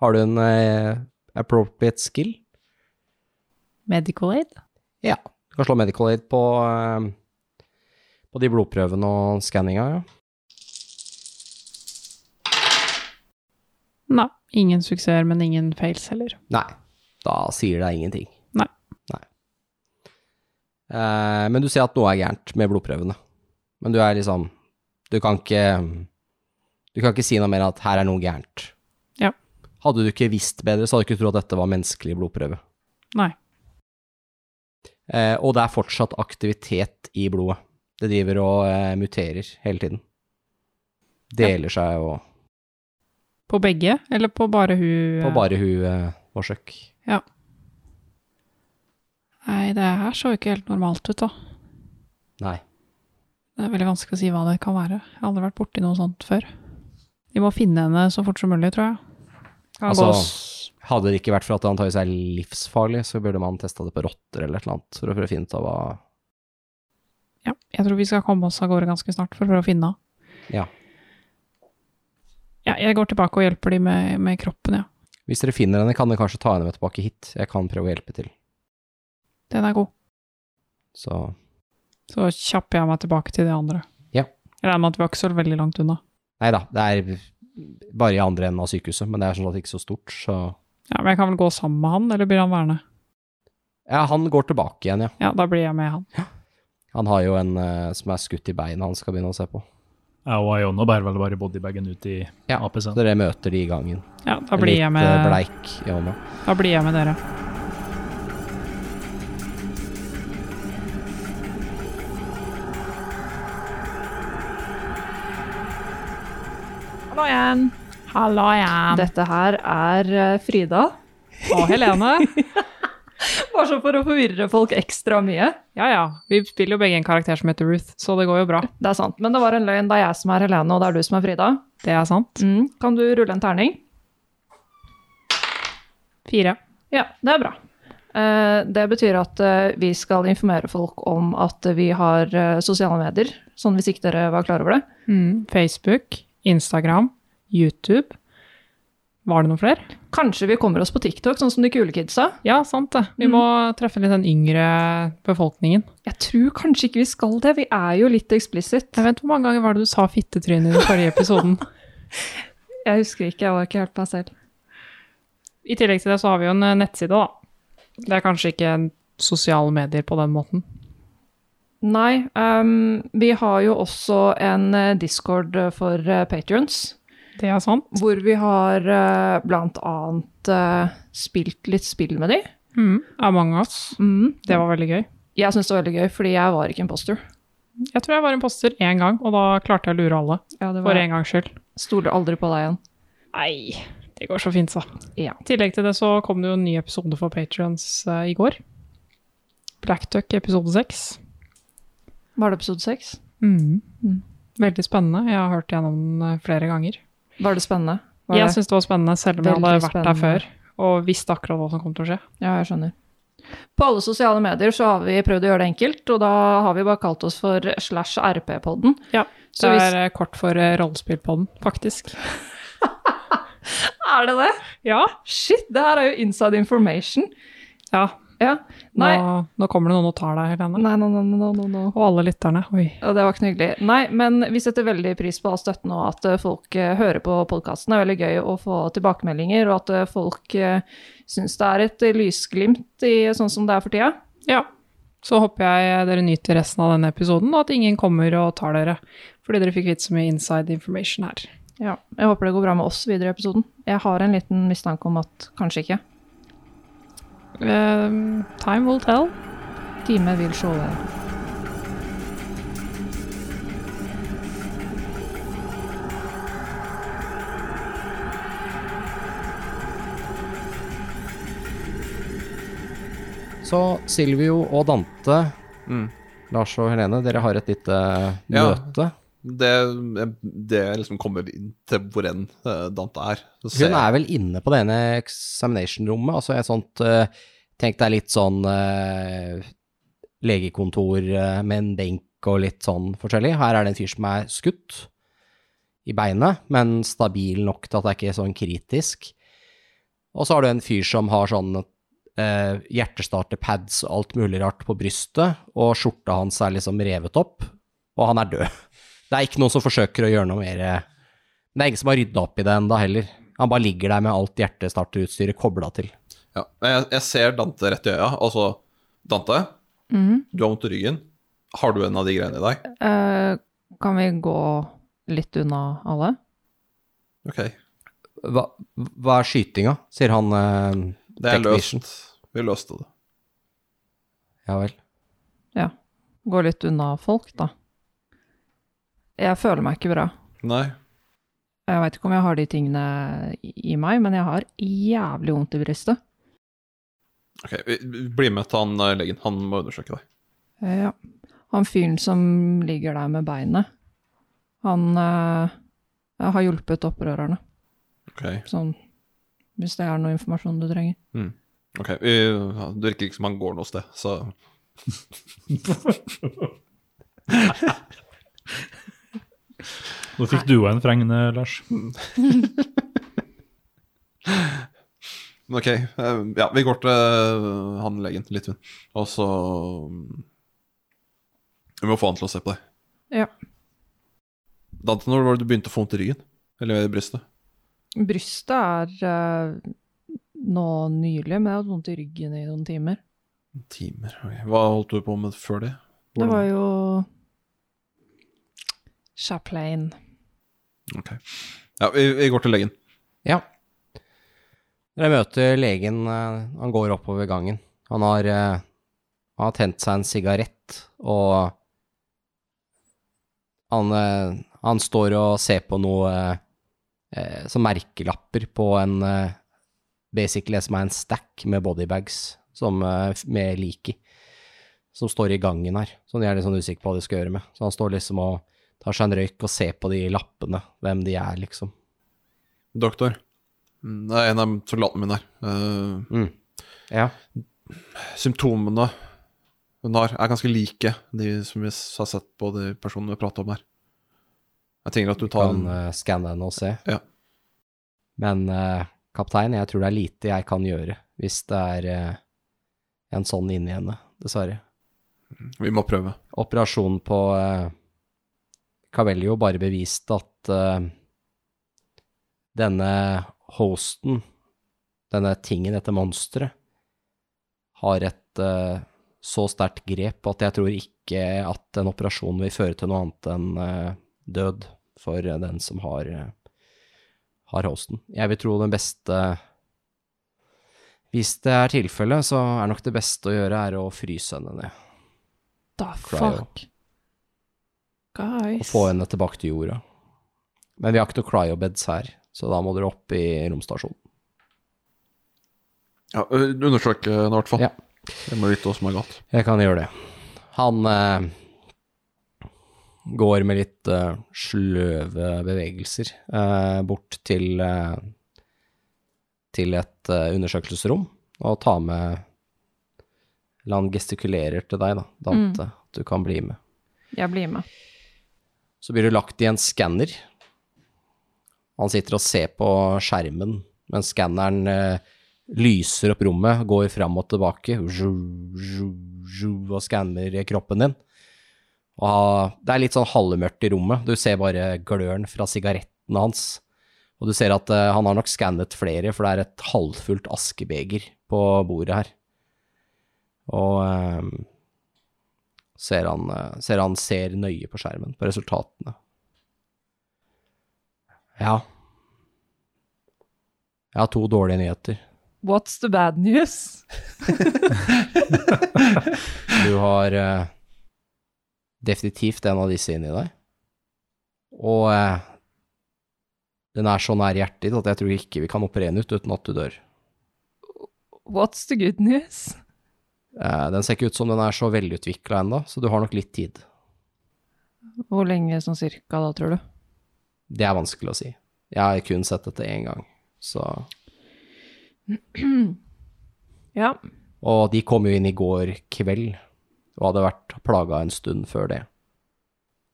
Har du en eh, appropriate skill? Medical aid? Ja. Du kan slå medical aid på, eh, på de blodprøvene og skanninga, ja. Nei, ingen suksesser, men ingen fails heller. Nei. Da sier det ingenting. Nei. Nei. Eh, men du ser at noe er gærent med blodprøvene. Men du er liksom Du kan ikke Du kan ikke si noe mer enn at her er noe gærent. Ja. Hadde du ikke visst bedre, så hadde du ikke trodd at dette var menneskelig blodprøve. Nei. Eh, og det er fortsatt aktivitet i blodet. Det driver og eh, muterer hele tiden. Deler seg og På begge, eller på bare hun På bare hun eh, forsøk. Nei, det her så jo ikke helt normalt ut, da. Nei. Det er veldig vanskelig å si hva det kan være. Jeg har aldri vært borti noe sånt før. Vi må finne henne så fort som mulig, tror jeg. Kan Altså- gå s- Hadde det ikke vært for at det antageligvis er livsfarlig, så burde man testa det på rotter eller et eller annet, for å prøve å finne ut av hva Ja, jeg tror vi skal komme oss av gårde ganske snart for å prøve å finne henne. Ja. Ja, jeg går tilbake og hjelper de med, med kroppen, ja. Hvis dere finner henne, kan dere kanskje ta henne med tilbake hit. Jeg kan prøve å hjelpe til. Den er god. Så Så kjapper jeg meg tilbake til de andre. Ja. Jeg regner med at vi var ikke så veldig langt unna. Nei da, det er bare i andre enden av sykehuset, men det er sånn at det ikke er så stort, så Ja, men jeg kan vel gå sammen med han, eller blir han værende? Ja, han går tilbake igjen, ja. Ja, da blir jeg med han. Han har jo en eh, som er skutt i beinet han skal begynne å se på. Jeg og Iona bærer vel bare bodybagen ut i Ja, Så apesen. dere møter de i gangen. Ja, da blir jeg Litt eh, med, bleik i hånda. da blir jeg med dere. Hallo igjen. Hallo, jeg. Dette her er eh, Frida. Og Helene. Bare sånn for å forvirre folk ekstra mye. Ja, ja. Vi spiller jo begge en karakter som heter Ruth, så det går jo bra. Det er sant, men det var en løgn. Det er jeg som er Helene, og det er du som er Frida. Det er sant. Mm. Kan du rulle en terning? Fire. Ja, det er bra. Eh, Det betyr at eh, vi skal informere folk om at vi har eh, sosiale medier, sånn hvis ikke dere var klar over det. Mm. Facebook, Instagram, YouTube. Var det noen flere? Kanskje vi kommer oss på TikTok, sånn som de kule kidsa. Ja, sant det. Vi må treffe litt den yngre befolkningen. Jeg tror kanskje ikke vi skal det, vi er jo litt eksplisitt. Jeg vet hvor mange ganger var det du sa fittetryne i den forrige episoden. Jeg husker ikke, jeg var ikke helt meg selv. I tillegg til det så har vi jo en eh, nettside, da. Det er kanskje ikke sosiale medier på den måten. Nei, ehm, vi har jo også en eh, Discord eh, for eh, patrons, Det er sant. hvor vi har eh, blant annet eh, spilt litt spill med de. Mm. Among us. Mm. Det var veldig gøy. Jeg syns det var veldig gøy, fordi jeg var ikke imposter. Jeg tror jeg var imposter én gang, og da klarte jeg å lure alle. Ja, det For var, en gangs skyld. stoler aldri på deg igjen. Nei, det går så fint, så. Ja. I tillegg til det så kom det jo en ny episode for Patrions i går. Blacktuck episode 6. Var det episode seks? Mm. Veldig spennende. Jeg har hørt gjennom den eh, flere ganger. Var det spennende? Var jeg det? syns det var spennende, selv om jeg hadde Veldig vært der spennende. før og visste akkurat hva som kom til å skje. Ja, jeg skjønner. På alle sosiale medier så har vi prøvd å gjøre det enkelt, og da har vi bare kalt oss for slash RP-podden. Ja, Så det hvis, er eh, kort for eh, rollespillpodden, faktisk. er det det? Ja. Shit, det her er jo inside information. ja. Ja. Nå, Nei. nå kommer det noen og tar deg, Helene. Nei, nei, nei, nei, nei, nei. Og alle lytterne. Oi. Og det var ikke noe hyggelig. Nei, men vi setter veldig pris på all støtten og at eh, folk eh, hører på podkasten. Det er veldig gøy å få tilbakemeldinger, og at eh, folk eh, syns det er et eh, lysglimt i sånn som det er for tida. Ja. Så håper jeg eh, dere nyter resten av denne episoden, og at ingen kommer og tar dere. Fordi dere fikk vite så mye inside information her. Ja, Jeg håper det går bra med oss videre i episoden. Jeg har en liten mistanke om at kanskje ikke. Ehm, time will tell. Time vil sjå vel. Så Silvio og Dante, Mm. Lars og Helene, dere har et lite eh, Ja. møte. Det, det liksom kommer inn til hvor enn eh, Dante er. Så ser Hun er vel inne på det ene examination-rommet, altså et sånt eh, Tenk deg litt sånn eh, legekontor eh, med en benk og litt sånn forskjellig. Her er det en fyr som er skutt i beinet, men stabil nok til at det er ikke sånn kritisk. Og så har du en fyr som har sånn eh, hjertestarterpads og alt mulig rart på brystet, og skjorta hans er liksom revet opp, og han er død. Det er ikke noen som forsøker å gjøre noe mer eh, men det er ingen som har rydda opp i det ennå heller. Han bare ligger der med alt hjertestarterutstyret kobla til. Ja, men jeg, jeg ser Dante rett i øya. Altså, Dante, du har vondt i ryggen. Har du en av de greiene i deg? Eh, kan vi gå litt unna alle? Ok, Hva, hva er skytinga, sier han. eh, det er Technician. løst. Vi løste det. Ja vel. Gå litt unna folk, da. Jeg føler meg ikke bra. Nei. Jeg veit ikke om jeg har de tingene i i meg, men jeg har jævlig vondt i brystet. Ok, vi- vi- bli med til han eh, legen. Han må undersøke deg. Eh, Ja. Han fyren som ligger der med beinet, han eh, har hjulpet opprørerne. Ok, Sånn, hvis det er noe informasjon du trenger. ok. Vi, ja, det virker ikke som han går noe sted, så Nå fikk du òg en fregn, eh, Lars. Men ok, eh, ja, vi går til eh, han legen, Litvin. Og så mm, Vi må få han til å se på deg. Ja. Dante, når var det du begynte å få vondt i ryggen? Eller i brystet? Brystet er eh, nå nylig, men jeg har hatt vondt i ryggen i noen timer. Timer. ok. Hva holdt du på med før det? Det Hvordan- var jo Chaplain. Ok. Ja, vi, vi går til legen. Ja. Dere møter legen. eh, Han går oppover gangen. Han har, eh, han har tent seg en sigarett, og han, eh, han står og ser på noe eh, eh, som merkelapper på en eh, Basically som er en stack med bodybags som, eh, med lik i, som står i gangen her. Som de er litt sånn usikre på hva de skal gjøre med. Så han står liksom og tar seg en røyk og ser på de lappene, hvem de er, liksom. Doktor. Mm, Det er en av soldatene mine her. Eh, Mm. Ja. symptomene hun har, er ganske like de som vi s- har sett på de personene vi prater om her. Jeg tenker at du tar kan en eh, skanne den og se. Ja. Men eh, kaptein, jeg tror det er lite jeg kan gjøre hvis det er eh, en sånn inni henne, dessverre. Vi må prøve. Operasjonen på eh, Cabellio bare beviste at eh, denne hosten, denne tingen, dette monsteret, har et eh, så sterkt grep at jeg tror ikke at en operasjon vil føre til noe annet enn eh, død for eh, den som har, eh, har hosten. Jeg vil tro den beste Hvis det er tilfellet, så er nok det beste å gjøre er å fryse henne ned. Da Cryo. fuck. Guys. og få henne tilbake til jorda. Men vi har ikke noe cryobeds her, så da må dere opp i romstasjonen. Ja, ø, Undersøk henne i hvert fall. Ja. Jeg må vite hva som er galt. Jeg kan gjøre det. Han eh, går med litt eh, sløve bevegelser eh, bort til, eh, til et eh, undersøkelsesrom og tar med La han gestikulerer til deg, da, Dante, at du kan bli med. Jeg blir med. Så blir du lagt i en skanner. Han sitter og ser på skjermen, men skanneren eh, lyser opp rommet, går fram og tilbake, zhu, zhu, zhu, og skanner kroppen din. Og det er litt sånn halvmørkt i rommet. Du ser bare gløren fra sigaretten hans. Og du ser at eh, han har nok skannet flere, for det er et halvfullt askebeger på bordet her. Og eh, ser han, eh, ser han ser nøye på skjermen, på resultatene. Ja. Jeg har to dårlige nyheter. What's the bad news? Du har eh, definitivt en av disse inni deg. Og eh, den er så nær hjertet ditt at jeg tror ikke vi kan operere den ut uten at du dør. What's the good news? Eh, den ser ikke ut som den er så velutvikla ennå, så du har nok litt tid. Hvor lenge sånn cirka da, tror du? Det er vanskelig å si. Jeg har kun sett dette én gang, så Ja. Og de kom jo inn i går kveld, og hadde vært plaga en stund før det.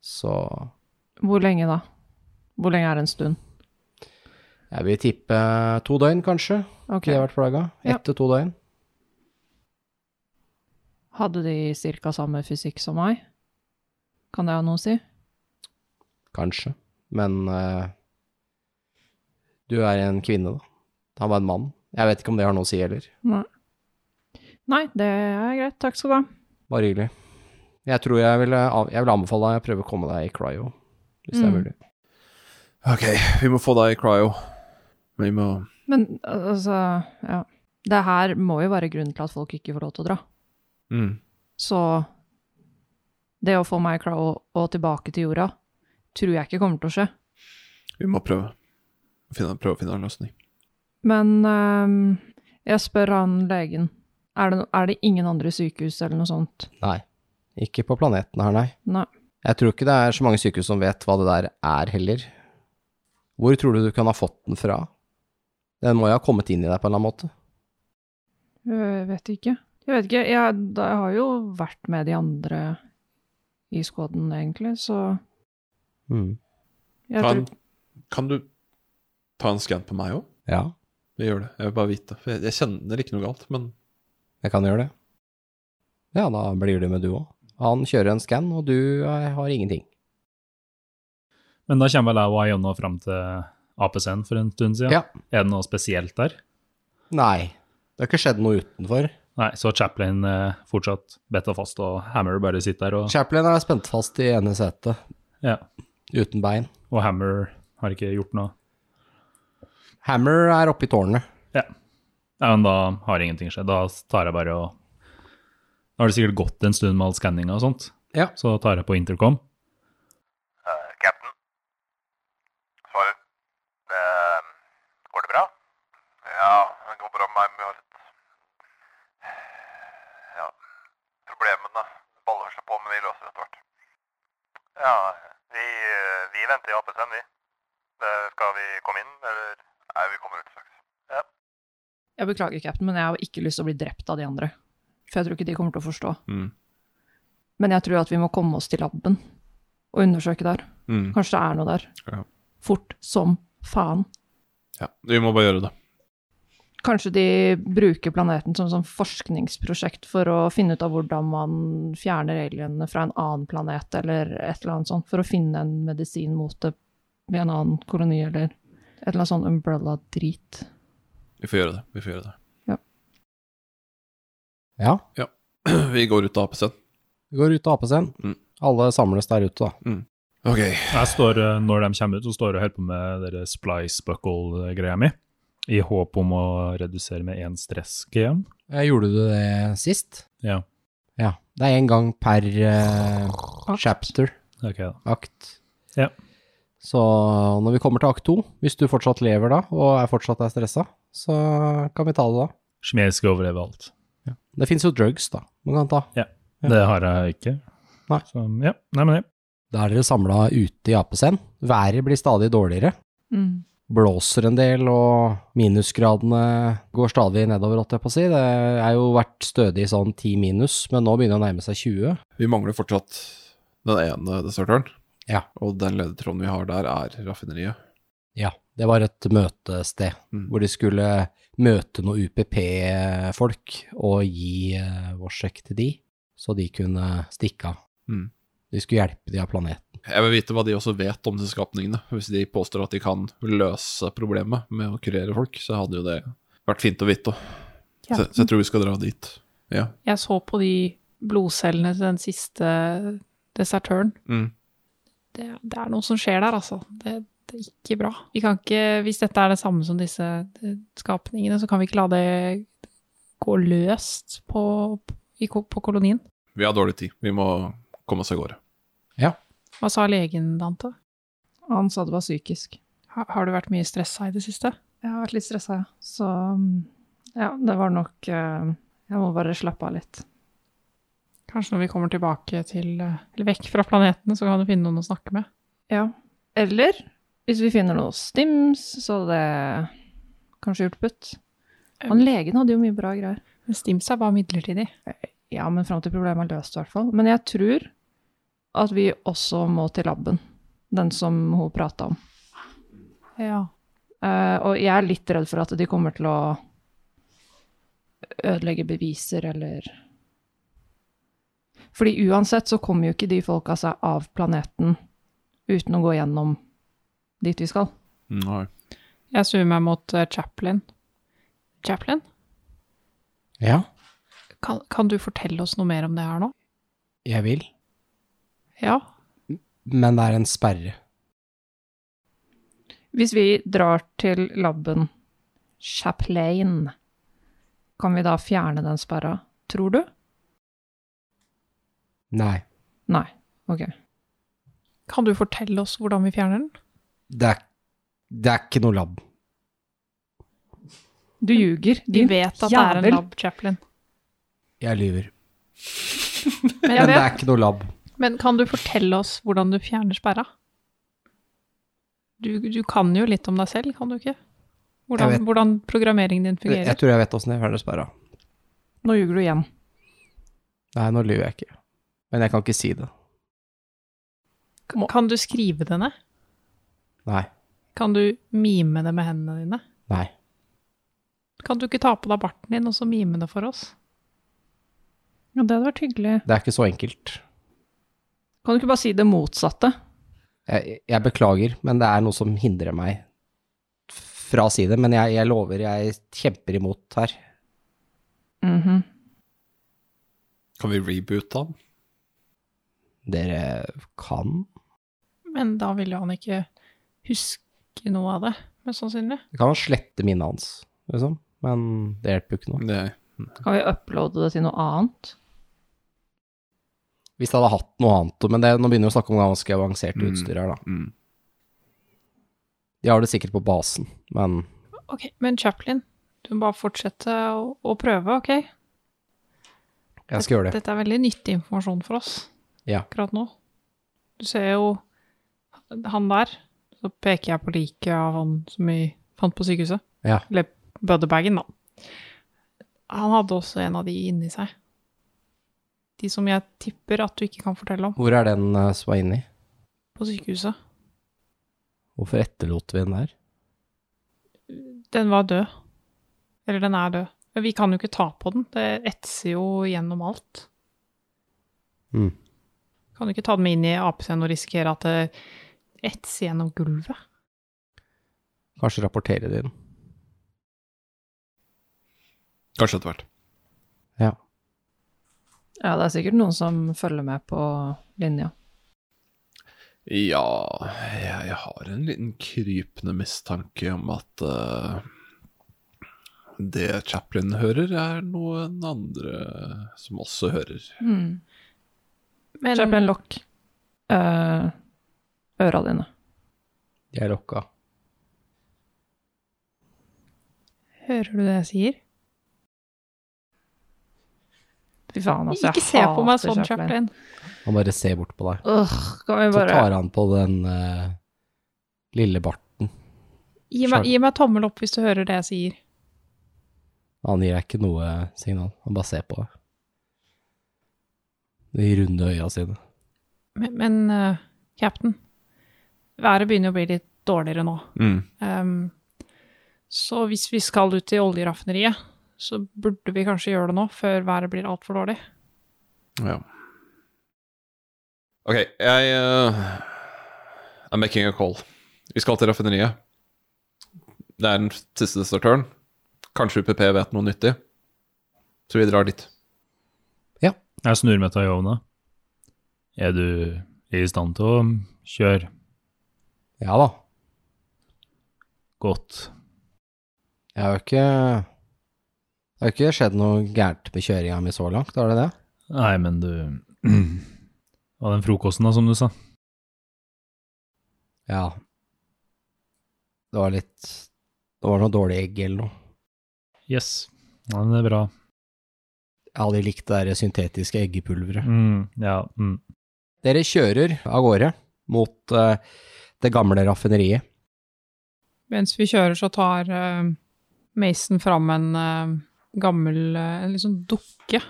Så Hvor lenge da? Hvor lenge er det en stund? jeg vil tippe to døgn, kanskje. Ok. De har vært plaga. Ja. Ett til to døgn. Hadde de cirka samme fysikk som meg? Kan det ha noe å si? Kanskje. Men eh, du er en kvinne, da. Han var en mann. Jeg vet ikke om det har noe å si heller. Nei. Nei, det er greit. Takk skal du ha. Bare hyggelig. Jeg tror jeg vil, eh, jeg vil anbefale deg å prøve å komme deg i cryo, hvis det er Mm. mulig. Ok, vi må få deg i cryo. Vi må Men al- altså, ja. Det her må jo være grunnen til at folk ikke får lov til å dra. mm. Så det å få meg klar og, og tilbake til jorda, tror jeg ikke kommer til å skje. Vi må prøve. Finne, prøve å finne en løsning. Men ehm, jeg spør han legen. Er det, no- er det ingen andre sykehus eller noe sånt? Nei. Ikke på planeten her, nei. Nei. Jeg tror ikke det er så mange sykehus som vet hva det der er heller. Hvor tror du du kan ha fått den fra? Den må jo ha kommet inn i deg på en eller annen måte. Jeg vet ikke. Jeg vet ikke. Jeg, da- jeg har jo vært med de andre i skåden, egentlig, så Jeg Ta en, tror- kan du ta en scan på meg òg? Ja, Vi gjør det. Jeg vil bare vite. For jeg, jeg kjenner ikke noe galt, men jeg kan gjøre det. Ja, da blir det med du òg. Han kjører en skann, og du eh, har ingenting. Men da kommer vel jeg og Ayonna fram til APC-en for en stund siden. Ja. Er det noe spesielt der? Nei, det har ikke skjedd noe utenfor. Nei, så Chaplin eh, fortsatt betta fast, og Hammer bare sitter der, og, Chaplin er spent fast i ene setet, ja, uten bein. og Hammer har ikke gjort noe. Hammer er oppe i tårnet. Nei, men da har ingenting skjedd. Da tar jeg bare og Da har det sikkert gått en stund med all skanninga og sånt. Ja. Så tar jeg på intercom. Eh, Captain? Svarer. Eh, går det bra? Ja, det går bra med meg. men jeg har litt- Ja, problemene baller seg på, men vi løser det etter hvert. Ja, vi, eh, vi venter i APC-en, vi. Eh, Skal vi komme inn, eller? Nei, vi kommer ut straks. Jeg beklager, cap'n, men jeg har ikke lyst til å bli drept av de andre. For jeg tror ikke de kommer til å forstå. mm. Men jeg tror at vi må komme oss til laben og undersøke der. Mm. Kanskje det er noe der. Ja. Fort som faen. Ja, vi må bare gjøre det. Kanskje de bruker planeten som sånn forskningsprosjekt for å finne ut av hvordan man fjerner alienene fra en annen planet eller et eller annet sånt, for å finne en medisin mot det ved en annen koloni eller et eller annet sånn umbrella-drit. Vi får gjøre det. Vi får gjøre det. Ja, Vi går ut av APC-en. vi går ut av APC-en. Mm. Alle samles der ute, da. Ok. Jeg står, eh, Når de kommer ut, så står jeg og holder på med dere splice buckle-greia mi. I håp om å redusere med én stress GM. Eh, Gjorde du det sist? Ja. Ja. Det er én gang per eh, chapter, Ok, da. akt. Ja. Så når vi kommer til akt to, hvis du fortsatt lever da, og er fortsatt er stressa, så kan vi ta det da. Som jeg skal overleve alt. Det fins jo drugs, da, man kan ta. Ja. Det har jeg ikke. Nei. Så, ja. Nei, men ja. Da er dere samla ute i apescenen. Været blir stadig dårligere. Mm. Blåser en del, og minusgradene går stadig nedover, holdt jeg på å si. Det er jo vært stødig sånn 10 minus, men nå begynner det å nærme seg 20. Vi mangler fortsatt den ene desertøren. Ja. Og den ledetråden vi har der, er raffineriet. Ja, det var et møtested Mm. hvor de skulle møte noen UPP-folk og gi eh, vår sjekk til de, så de kunne stikke av. Mm. De skulle hjelpe de av planeten. Jeg vil vite hva de også vet om disse skapningene. Hvis de påstår at de kan løse problemet med å kurere folk, så hadde jo det vært fint å vite. også. Så, så jeg tror vi skal dra dit. Ja. Jeg så på de blodcellene til den siste desertøren. Mm. Det, det er noe som skjer der, altså. Det, det er ikke bra. Vi kan ikke, hvis dette er det samme som disse eh, skapningene, så kan vi ikke la det gå løst på, i, ko- på kolonien. Vi har dårlig tid. Vi må komme oss av gårde. Hva sa legen, Dante? Han sa det var psykisk. Har, har du vært mye stressa i det siste? Jeg har vært litt stressa, ja. Så mm, ja, det var nok eh, Jeg må bare slappe av litt. Kanskje når vi kommer tilbake til, eh, eller vekk fra planetene, så kan du finne noen å snakke med. Ja. Eller hvis vi finner noe stims, så hadde det kanskje gjort butt. Han legen hadde jo mye bra greier. Men Stims er bare midlertidig. Ja, men fram til problemet er løst, i hvert fall. Men jeg tror at vi også må til laben. Den som hun prata om. Ja. Eh, og jeg er litt redd for at de kommer til å ødelegge beviser eller Fordi uansett så kommer jo ikke de folka seg av planeten uten å gå gjennom dit vi skal. Mm, Nei. Jeg suer meg mot eh, Chaplin. Chaplin, Ja, kan, kan du fortelle oss noe mer om det her nå? jeg vil. Ja. Men det er en sperre. Hvis vi drar til laben Chaplain, kan vi da fjerne den sperra, tror du? Nei, Nei. Ok. Kan du fortelle oss hvordan vi fjerner den? det er, det er ikke noe lab. Du ljuger. Vi din vet at det er en jævel. lab, Chaplin. Jeg lyver. Men, Men det er ikke noe lab. men kan du fortelle oss hvordan du fjerner sperra? Du, du kan jo litt om deg selv, kan du ikke? Jeg Hvordan, vet. hvordan programmeringen din Jeg, fungerer? tror jeg vet åssen jeg fjerner sperra. Nå ljuger du igjen. Nei, nå lyver jeg ikke. Men jeg kan ikke si det. Kan- Kan du skrive det ned? Nei. Kan du mime det med hendene dine? Nei. Kan du ikke ta på deg barten din og så mime det for oss? Ja, det hadde vært hyggelig. Det er ikke så enkelt. Kan du ikke bare si det motsatte? Jeg, jeg beklager, men det er noe som hindrer meg fra å si det. Men jeg, jeg lover, jeg kjemper imot her. Mhm. Kan vi reboote han? Dere kan Men da ville han ikke huske noe av det, mest sannsynlig. Jeg kan slette minnet hans, liksom. Men det hjelper jo ikke noe. Nei. Kan vi uploade det til noe annet? Hvis jeg hadde hatt noe annet, men det, nå begynner vi å snakke om ganske avansert Mm. utstyr her, da. Mm. De har det sikkert på basen, men Ok, men Chaplin, du må bare fortsette å, å prøve, ok? jeg skal gjøre det. Dette er veldig nyttig informasjon for oss Ja. akkurat nå. Du ser jo han der, så peker jeg på liket av han som vi fant på sykehuset. Ja. Eller budderbagen, da. Han hadde også en av de inni seg. De som jeg tipper at du ikke kan fortelle om Hvor er den eh, som var inni? på sykehuset. Hvorfor etterlot vi den der? Den var død. Eller den er død. Men vi kan jo ikke ta på den. Det etser jo gjennom alt. Mm. Kan du ikke ta den med inn i apescenen og risikere at det etser gjennom gulvet? Kanskje rapportere det inn. Kanskje etter hvert. Ja, det er sikkert noen som følger med på linja. Ja, jeg, jeg har en liten krypende mistanke om at eh, det Chaplin hører, er noen andre som også hører. Hmm. Mm. Men Kjøp en lokk. Eh, øra dine. De er lokka. hører du det jeg sier? Fy faen, altså. jeg ikke se på meg hater sånn, Chaplin. Han bare ser bort på deg. Ugh, kan vi Så bare tar han på den eh, lille barten. Gi meg, Chaplin. gi meg tommel opp hvis du hører det jeg sier. Han gir deg ikke noe signal. Han bare ser på deg. De runde øya sine. Men, men eh, cap'n, været begynner å bli litt dårligere nå. Mm. Ehm, så hvis vi skal ut til oljeraffineriet, så burde vi kanskje gjøre det nå, før været blir altfor dårlig. Ja. Ok, jeg eh, I'm making a call. Vi skal til raffineriet. Det er den siste desertøren. Kanskje UPP vet noe nyttig. Så vi drar dit. Jeg snur meg til Iona. Er du i stand til å kjøre Ja da. godt? Jeg har jo ikke Det har jo ikke skjedd noe gærent med kjøringa mi så langt, har det det? Nei, men du Og den frokosten, da, som du sa. Ja. Det var litt Det var noe dårlig egg eller noe. Yes. Ja, men det er bra. Jeg hadde likt det der syntetiske eggepulveret. Mm, ja. Mm. Dere kjører av gårde mot eh, det gamle raffineriet. Mens vi kjører, så tar eh, Mason fram en eh, gammel eh, en liksom dukke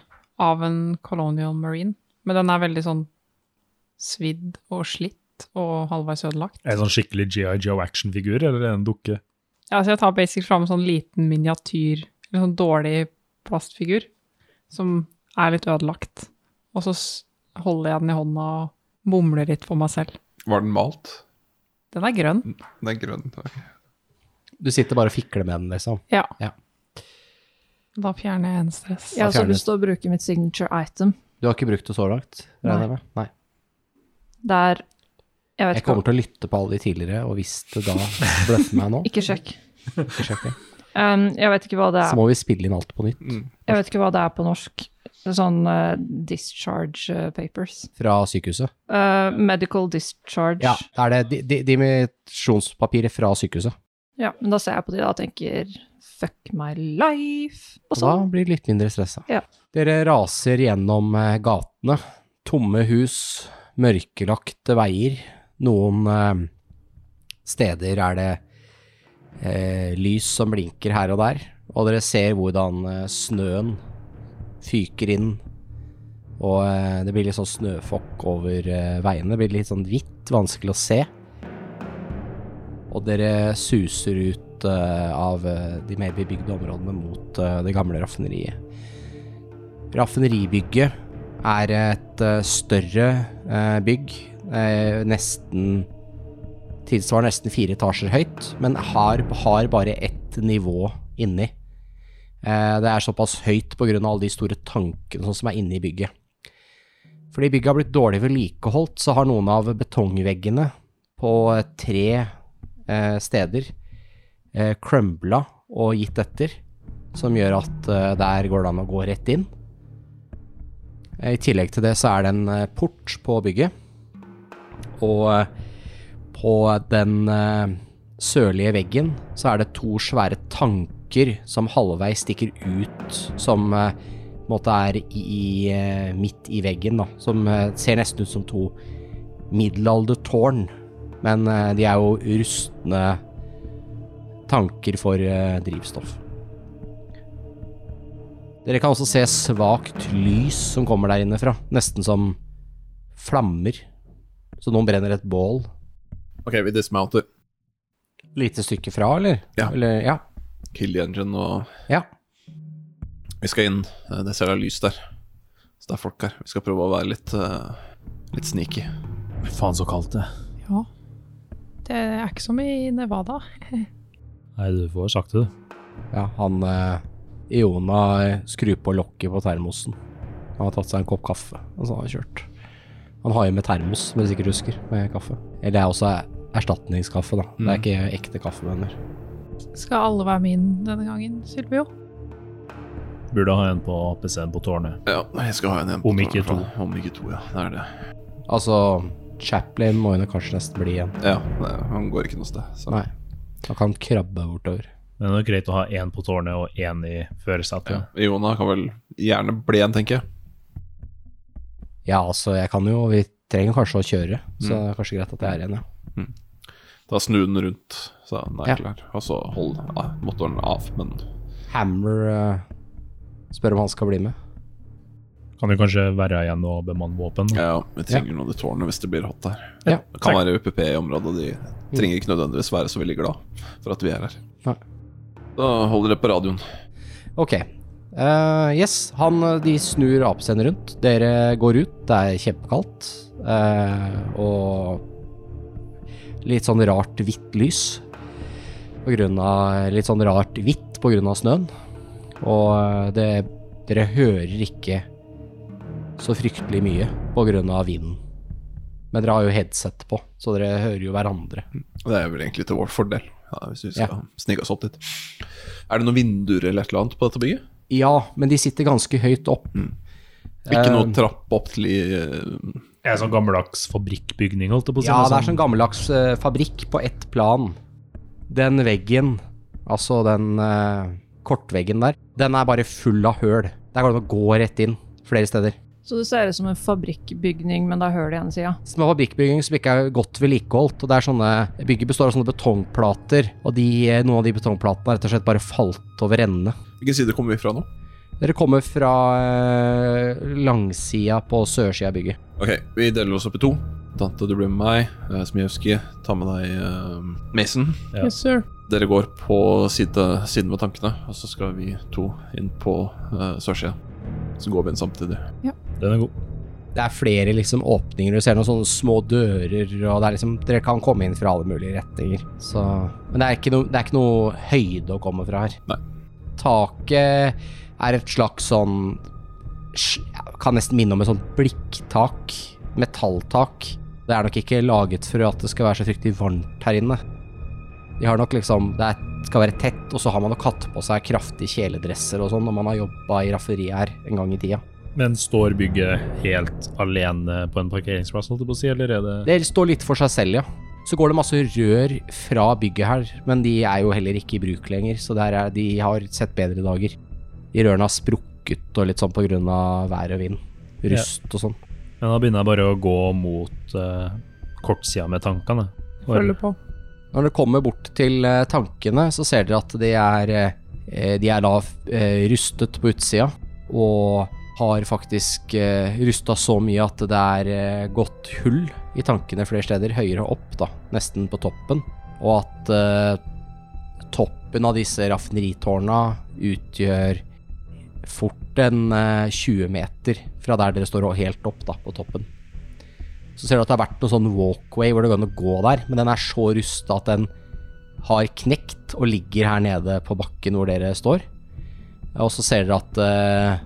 av en Colonial Marine. Men den er veldig sånn svidd og slitt og halvveis ødelagt. Er det sånn skikkelig GI Joe actionfigur, eller er det en dukke? Ja, så jeg tar basic fram en sånn liten miniatyr, eller sånn dårlig plastfigur, som er litt ødelagt. Og så s- holder jeg den i hånda og mumler litt for meg selv. Var den malt? Den er grønn. Den er grønn. ok. Du sitter bare og fikler med den, liksom. Ja. Ja. Da fjerner jeg en stress. Jeg har også fjernet. lyst til å bruke mitt signature item. Du har ikke brukt det så langt? regner jeg med? Nei. Der Jeg vet Jeg ikke. kommer til å lytte på alle de tidligere, og hvis det da bløffer meg nå, Ikke sjekk. ikke sjekk det. Um, jeg vet ikke hva det så er. må vi spille inn alt på nytt. Mm. Jeg vet ikke hva det er på norsk. Sånn eh, discharge eh, papers. Fra sykehuset. Eh, medical discharge. Ja, det er det di- di- dimensjonspapiret fra sykehuset. Ja, men da ser jeg på de da og tenker fuck my life, og Og da sånn. blir det litt mindre stressa. Ja. Dere raser gjennom eh, gatene. Tomme hus, mørkelagte veier. Noen eh, steder er det eh, lys som blinker her og der. Og dere ser hvordan eh, snøen fyker inn. Og eh, det blir litt sånn snøfokk over eh, veiene. Det blir litt sånn hvitt, vanskelig å se. Og dere suser ut eh, av eh, de mer bebygde områdene mot eh, det gamle raffineriet. Raffineribygget er et eh, større eh, bygg, eh, nesten tilsvarer nesten fire etasjer høyt, men har, har bare ett nivå inni. Eh, Det er såpass høyt på grunn av alle de store tankene sånn som er inne i bygget. Fordi bygget har blitt dårlig vedlikeholdt, så har noen av betongveggene på eh, tre eh, steder eh, crumbla og gitt etter, som gjør at eh, der går det an å gå rett inn. Eh, I tillegg til det så er det en eh, port på bygget, og eh, på den eh, sørlige veggen så er det to svære tanker som halvveis stikker ut, som eh, på en måte er i, i, eh, midt i veggen, da. Som eh, ser nesten ut som to middelaldertårn, men eh, de er jo rustne tanker for eh, drivstoff. Dere kan også se svakt lys som kommer der inne fra, nesten som flammer. Så noen brenner et bål OK, vi dismounter. lite stykke fra, eller? Ja. Eller, ja. Kill the engine og ja. Vi skal inn. Eh, Det ser da lys der. Så det er folk her. Vi skal prøve å være litt eh, litt sneaky. Faen så kaldt det. Ja. Det er ikke som i Nevada. Nei, du får sagt det, du. ja han eh, Iona eh, skrur på lokket på termosen. Han har tatt seg en kopp kaffe, og så har han kjørt. Han har jo med termos, som du sikkert husker, med kaffe. Eller det er også erstatningskaffe, da. Det er ikke ekte kaffe, mener Skal alle være med inn denne gangen, Sylvio? Burde ha en på PC-en på tårnet. Ja, jeg skal ha en igjen. på Om ikke tårnet, faen. Om ikke to, ja. Det er det. Altså, Chaplin må jo kanskje nesten bli igjen. Ja, det, han går ikke noe sted. Så. Nei. Han kan krabbe bortover. Men det er greit å ha én på tårnet og én i førersetet. Ja. Iona kan vel gjerne bli en, tenker jeg. Ja, altså, jeg kan jo Vi trenger kanskje å kjøre, så det er kanskje greit at jeg er igjen, ja. Da snu den rundt, så den er Ja. klar. Og så hold ja, motoren av, men Hammer eh, spør om han skal bli med. Kan jo kanskje være igjen og bemanne våpen. da. ja, vi trenger noe i tårnet hvis det blir hot der. Ja. Det kan være UPP i området, de trenger ikke nødvendigvis være så veldig glad for at vi er her. Nei. Da holder det på radioen. Ok. Eh, yes, han, de snur apescenen rundt. Dere går ut, det er kjempekaldt. eh, og litt sånn rart hvitt lys. På grunn av Litt sånn rart hvitt på grunn av snøen. Og eh, det, dere hører ikke så fryktelig mye på grunn av vinden. Men dere har jo headset på, så dere hører jo hverandre. Det er vel egentlig til vår fordel, ja, hvis vi skal Ja. snike oss opp dit. Er det noen vinduer eller et eller annet på dette bygget? Ja, men de sitter ganske høyt opp. Ikke Eh, noe trapp opp til i eh, Det er sånn gammeldags fabrikkbygning, holdt jeg på å si. Ja, men det er sånn gammeldags eh, fabrikk på ett plan. Den veggen, altså den eh, kortveggen der, den er bare full av høl. Der går det an å gå rett inn flere steder. Så det ser ut som en fabrikkbygning, men det er hull i ene sida. Små fabrikkbygging som ikke er godt vedlikeholdt, og det er sånne Bygget består av sånne betongplater, og de, eh, noen av de betongplatene har rett og slett bare falt over ende. Hvilken side kommer vi fra nå? Dere kommer fra eh, langsida på sørsida av bygget. Ok, vi deler oss opp i to. Tante, du blir med meg. eh, Smijevskij, ta med deg eh, Mason. Ja. Yes, sir. Dere går på side, siden med tankene, og så skal vi to inn på uh, sørsida. Så går vi inn samtidig. Den er god. Det er flere liksom åpninger, du ser noen sånne små dører, og det er liksom, dere kan komme inn fra alle mulige retninger. Så, men det er, ikke noe- det er ikke noe høyde å komme fra her. Nei. Taket er et slags sånn, sj- jeg kan nesten minne om et sånt blikktak, metalltak. Det er nok ikke laget for at det skal være så fryktelig varmt her inne. De har nok liksom, det er, skal være tett, og så har man nok hatt på seg kraftige kjeledresser og sånn, når man har jobbet i rafferiet her en gang i tida. Men står bygget helt alene på en parkeringsplass, holdt jeg på å si, eller er det Det står litt for seg selv, ja. Så går det masse rør fra bygget her, men de er jo heller ikke i bruk lenger, så der er, de har sett bedre dager. De rørene har sprukket og litt sånn på grunn av vær og vind. Rust og sånn. Men da begynner jeg bare å gå mot eh, kortsida med tankene. Og- Følger på. Når dere kommer bort til eh, tankene, så ser dere at de er, eh, de er da eh, rustet på utsida, og har faktisk eh, rusta så mye at det er eh, gått hull i tankene flere steder, høyere opp da, nesten på toppen. og at eh, toppen av disse raffineritårna utgjør fort en eh, 20 meter fra der dere står og helt opp da, på toppen. Så ser du at det har vært noen sånn walkway hvor det går an å gå der, men den er så rusta at den har knekt og ligger her nede på bakken hvor dere står. Og så ser dere at eh,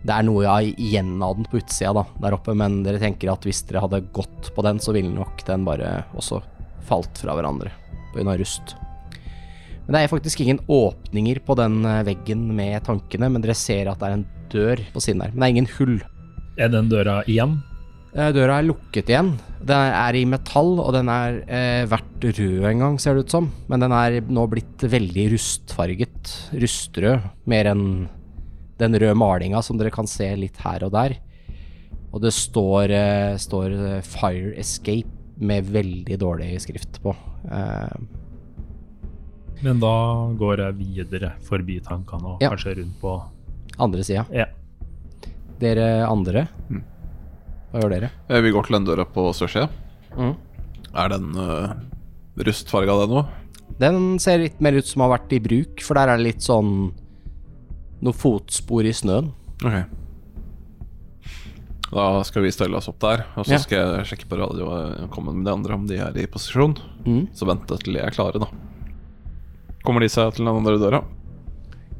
det er noe igjen av den på utsida da, der oppe, men dere tenker at hvis dere hadde gått på den, så ville nok den bare også falt fra hverandre pga. rust. Men det er faktisk ingen åpninger på den eh, veggen med tankene, men dere ser at det er en dør på siden her. Men det er ingen hull. Er den døra igjen? Eh, Døra er lukket igjen. Den er i metall, og den er eh, vært rød en gang, ser det ut som. Men den er nå blitt veldig rustfarget. Rustrød. Mer enn den røde malinga som dere kan se litt her og der. Og det står, eh, står eh, 'Fire Escape' med veldig dårlig skrift på. Eh, Men da går jeg videre forbi tankene og Ja. kanskje rundt på e- andre sida. Ja. Dere andre, Mm. hva gjør dere? Eh, Vi går til den døra på sørsida. Mm. Er den uh, rustfarga, den òg? Den ser litt mer ut som har vært i bruk, for der er det litt sånn noe fotspor i snøen. Ok. Da skal vi stelle oss opp der, og så Ja. skal jeg sjekke på radioen med de andre om de er i posisjon. Mm. Så vente til de er klare, da. Kommer de seg til den andre døra?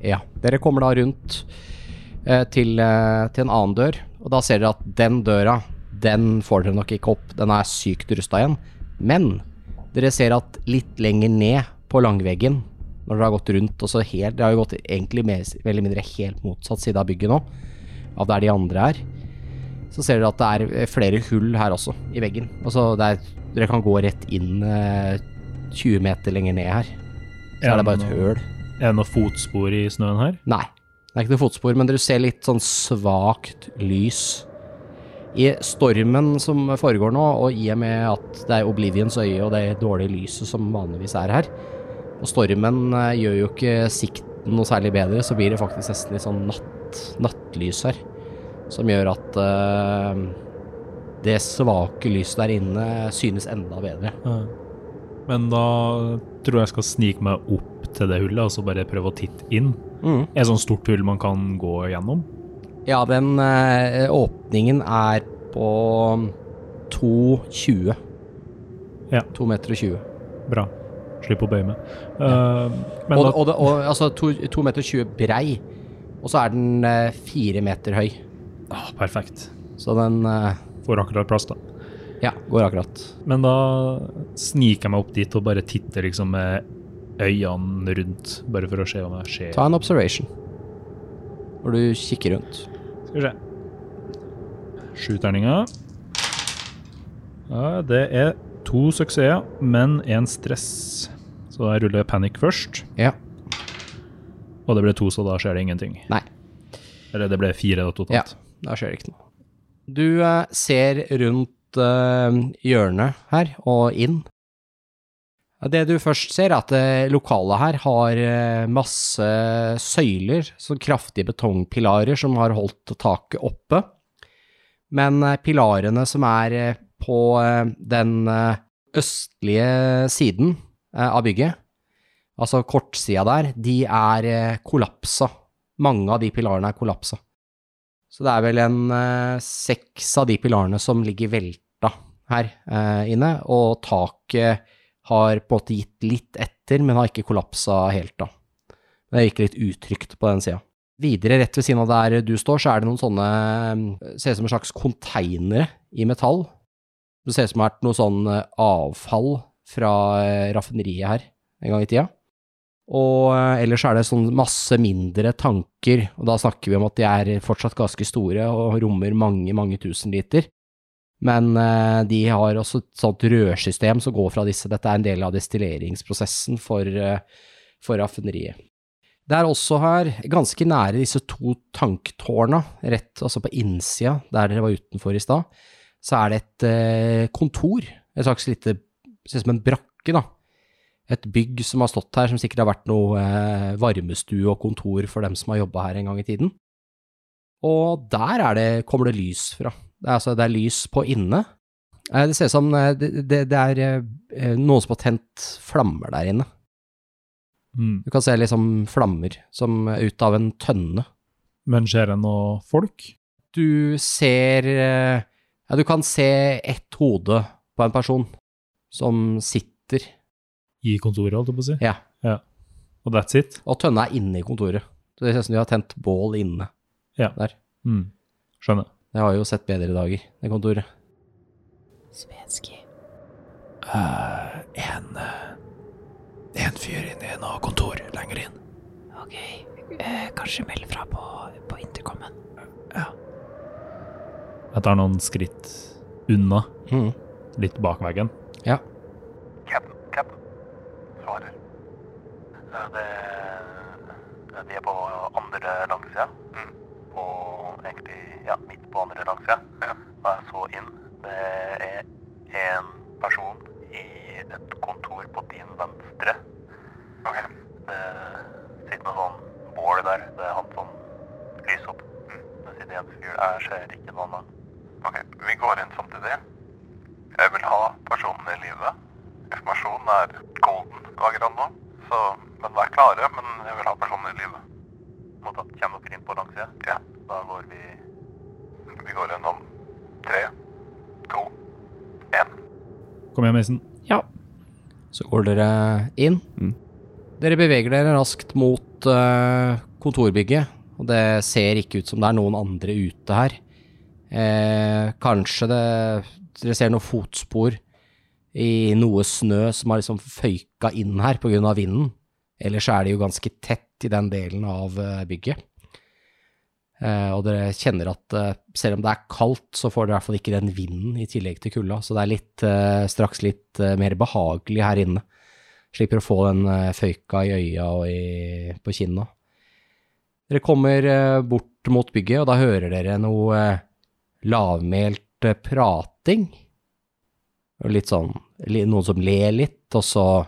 Ja. Dere kommer da rundt eh, til, eh, til en annen dør, og da ser dere at den døra, den får dere nok ikke opp. Den er sykt rusta igjen. Men dere ser at litt lenger ned på langveggen, når dere har gått rundt og så helt Dere har jo gått egentlig mer, veldig mindre helt motsatt side av bygget nå, av der de andre er. Så ser dere at det er eh, flere hull her også, i veggen. Og så det er, dere kan gå rett inn eh, 20 meter lenger ned her. Så Ja, er det bare men- et høl. Er det noen fotspor i snøen her? Nei, det er ikke noe fotspor, men dere ser litt sånn svakt lys. I stormen som foregår nå, og i og med at det er Oblivions øye og det dårlige lyset som vanligvis er her, og stormen eh, gjør jo ikke sikten noe særlig bedre, så blir det faktisk nesten litt sånn natt, nattlys her, som gjør at eh, det svake lyset der inne synes enda bedre. Ja. Men da tror jeg jeg skal snike meg opp til det hullet og så bare prøve å titte inn. Mm. Er det sånn stort hull man kan gå gjennom? Ja, den eh, åpningen er på 2,20. Ja. 2 meter og 20. Bra. Slipp å bøye meg. Eh, men Og, da, og, det- og altså 2, meter og 20 brei, og så er den eh, 4 meter høy. ah, perfekt. Så den eh, Får akkurat plass, da. ja, går akkurat. Men da sniker jeg meg opp dit og bare titter liksom med øynene rundt, bare for å se om jeg ser Ta en observation når du kikker rundt. Skal vi se. Sju terninger. Ja, det er to suksesser, men én stress. Så da ruller jeg panic først. Ja. Og det ble to, så da skjer det ingenting. Nei. Eller det ble fire da, Ja, totalt. da skjer det ikke noe. Du eh, ser rundt eh, hjørnet her og inn. Ja, Det du først ser, er at eh, lokalet her har eh, masse søyler, sånn kraftige betongpilarer som har holdt taket oppe. Men eh, pilarene som er eh, på eh, den eh, østlige siden eh, av bygget, altså kortsida der, de er eh, kollapsa. Mange av de pilarene er kollapsa. Så det er vel en eh, seks av de pilarene som ligger velta her eh, inne, og taket har på en måte gitt litt etter, men har ikke kollapsa helt da. Men det virker litt utrygt på den sida. Videre, rett ved siden av der du står, så er det noen sånne eh, Ser ut som en slags konteinere i metall. Det ser ut som det har vært noe sånn eh, avfall fra eh, raffineriet her en gang i tida. Og eh, ellers er det sånn masse mindre tanker, og da snakker vi om at de er fortsatt ganske store og rommer mange, mange tusen liter. Men eh, de har også et sånt rørsystem som går fra disse. Dette er en del av destilleringsprosessen for, eh, for raffineriet. Det er også her, ganske nære disse to tanktårna, rett altså på innsida der dere var utenfor i stad, så er det et eh, kontor. Et slags lite Ser ut som en brakke, da et bygg som har stått her, som sikkert har vært noe eh, varmestue og kontor for dem som har jobba her en gang i tiden. Og der er det, kommer det lys fra. Det er, altså, det er lys på inne. Eh, det ser ut som eh, det, det, det er eh, eh, noe som har tent flammer der inne. Mm. Du kan se liksom flammer som er ut av en tønne. Men ser jeg noe folk? Du ser eh, Ja, du kan se ett hode på en person som sitter. I kontoret, holdt jeg på å si. Ja. Og that's it. Og tønna er inne i kontoret. Så det ser ut som de har tent bål inne. Ja. Der. Mm. Skjønner. Det har jo sett bedre dager, det kontoret. Svenski. Eh, en, en fyr inne i en av kontor lenger inn. Ok. eh, kanskje meld fra på, intercomen. Jeg tar noen skritt unna, Mhm. litt bak veggen. Cap'n, cap'n. Svarer. Eh, Det eh, De er på andre langsida. På egentlig ja, midt på andre langsida. Og jeg så inn. Det er en person i et kontor på din venstre. Det sitter noe sånn bål der. Det er han som lyser opp. Mm. Det sitter en fyr der. Jeg ser ikke noen annen. Ok, vi går inn samtidig. Jeg vil ha personen i live. Informasjonen er golden akkurat nå, så men vær klare. Men jeg vil ha personen i live. Mottatt. Kommer dere inn på langsida? Ja. Da går vi Vi går gjennom tre, to, én. Kom igjen, Mason. Så går dere inn. Mm. Dere beveger dere raskt mot eh, kontorbygget, og det ser ikke ut som det er noen andre ute her. Eh, kanskje det Dere ser noen fotspor i noe snø som har liksom føyka inn her pga. vinden. Ellers er det jo ganske tett i den delen av eh, bygget. Eh, og dere kjenner at eh, selv om det er kaldt, så får dere i hvert fall ikke den vinden i tillegg til kulda. Så det er litt, eh, straks litt eh, mer behagelig her inne. Slipper å få den eh, føyka i øya og i, på kinna. Dere kommer eh, bort mot bygget, og da hører dere noe eh, lavmælt eh, prating. Og litt sånn li- Noen som ler litt, og så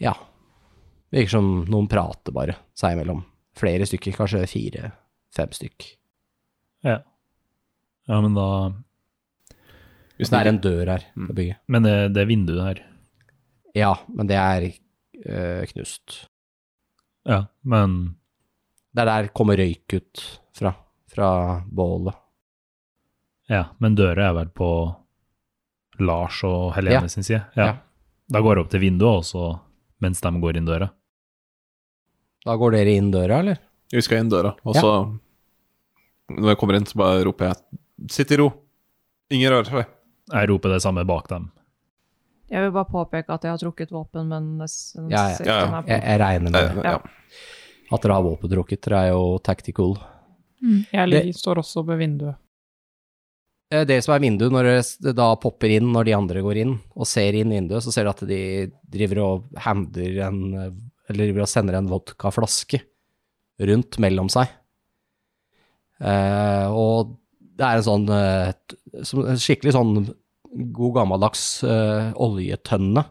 Ja. Virker som noen prater bare seg imellom. Flere stykker, kanskje fire-fem stykk. Ja, men da Vi Så det er en sniker. dør her Mm. på bygget. Men det, det er vinduet her. Ja, men det er eh, knust. Ja, men Det er der kommer røyk ut fra, fra bålet. Ja, men døra er vel på Lars og Helene Ja. sin side? Ja. Da går jeg opp til vinduet også, mens de går inn døra. Da går dere inn døra, eller? Vi skal inn døra, og så Når jeg kommer inn, så bare roper jeg 'sitt i ro'. Ingen rører seg. Jeg roper det samme bak dem. Jeg vil bare påpeke at jeg har trukket våpen, men s- den Ja, ja. sikten Ja, ja. er på. Jeg, jeg regner med Eh, det. ja. at dere har våpen trukket. Dere er jo tactical. Mm. Jeg Det- ligger, står også ved vinduet. Eh, Det som er vinduet, når dere s- da popper inn når de andre går inn, og ser inn vinduet, så ser dere at de driver og hander en eh, Eller driver og sender en vodkaflaske rundt mellom seg. Eh, og det er en sånn eh, t- som- en skikkelig sånn god gammeldags eh, oljetønne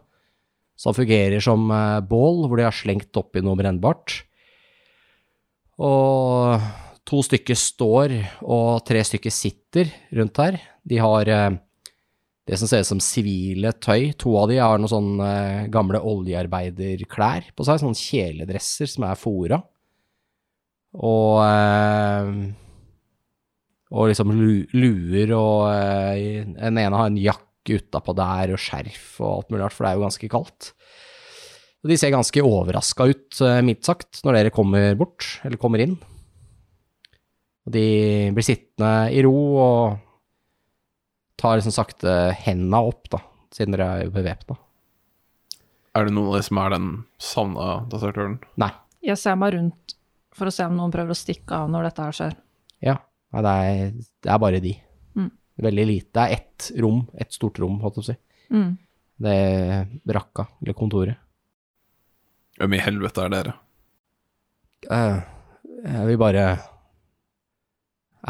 som fungerer som eh, bål, hvor de har slengt oppi noe brennbart. Og to stykker står, og tre stykker sitter rundt her. De har eh, det som ser ut som sivile tøy. To av de har noen sånne eh, gamle oljearbeiderklær på seg, sånne kjeledresser som er fora. Og eh, og liksom lu- luer, og eh, den ene har en jakke utapå der, og skjerf og alt mulig rart, for det er jo ganske kaldt. Og de ser ganske overraska ut, eh, mildt sagt, når dere kommer bort, eller kommer inn. Og de blir sittende i ro og tar liksom sakte henda opp, da, siden dere er jo bevæpna. Er det noen av de som er den savna desertøren? Nei. Jeg ser meg rundt for å se om noen prøver å stikke av når dette her skjer. Ja. Nei, det er, det er bare de. Mm. Veldig lite. Det er ett rom, et stort rom, holdt jeg på å si. Mm. Det er brakka, eller kontoret. Hvem i helvete er dere? Eh, eh, vi bare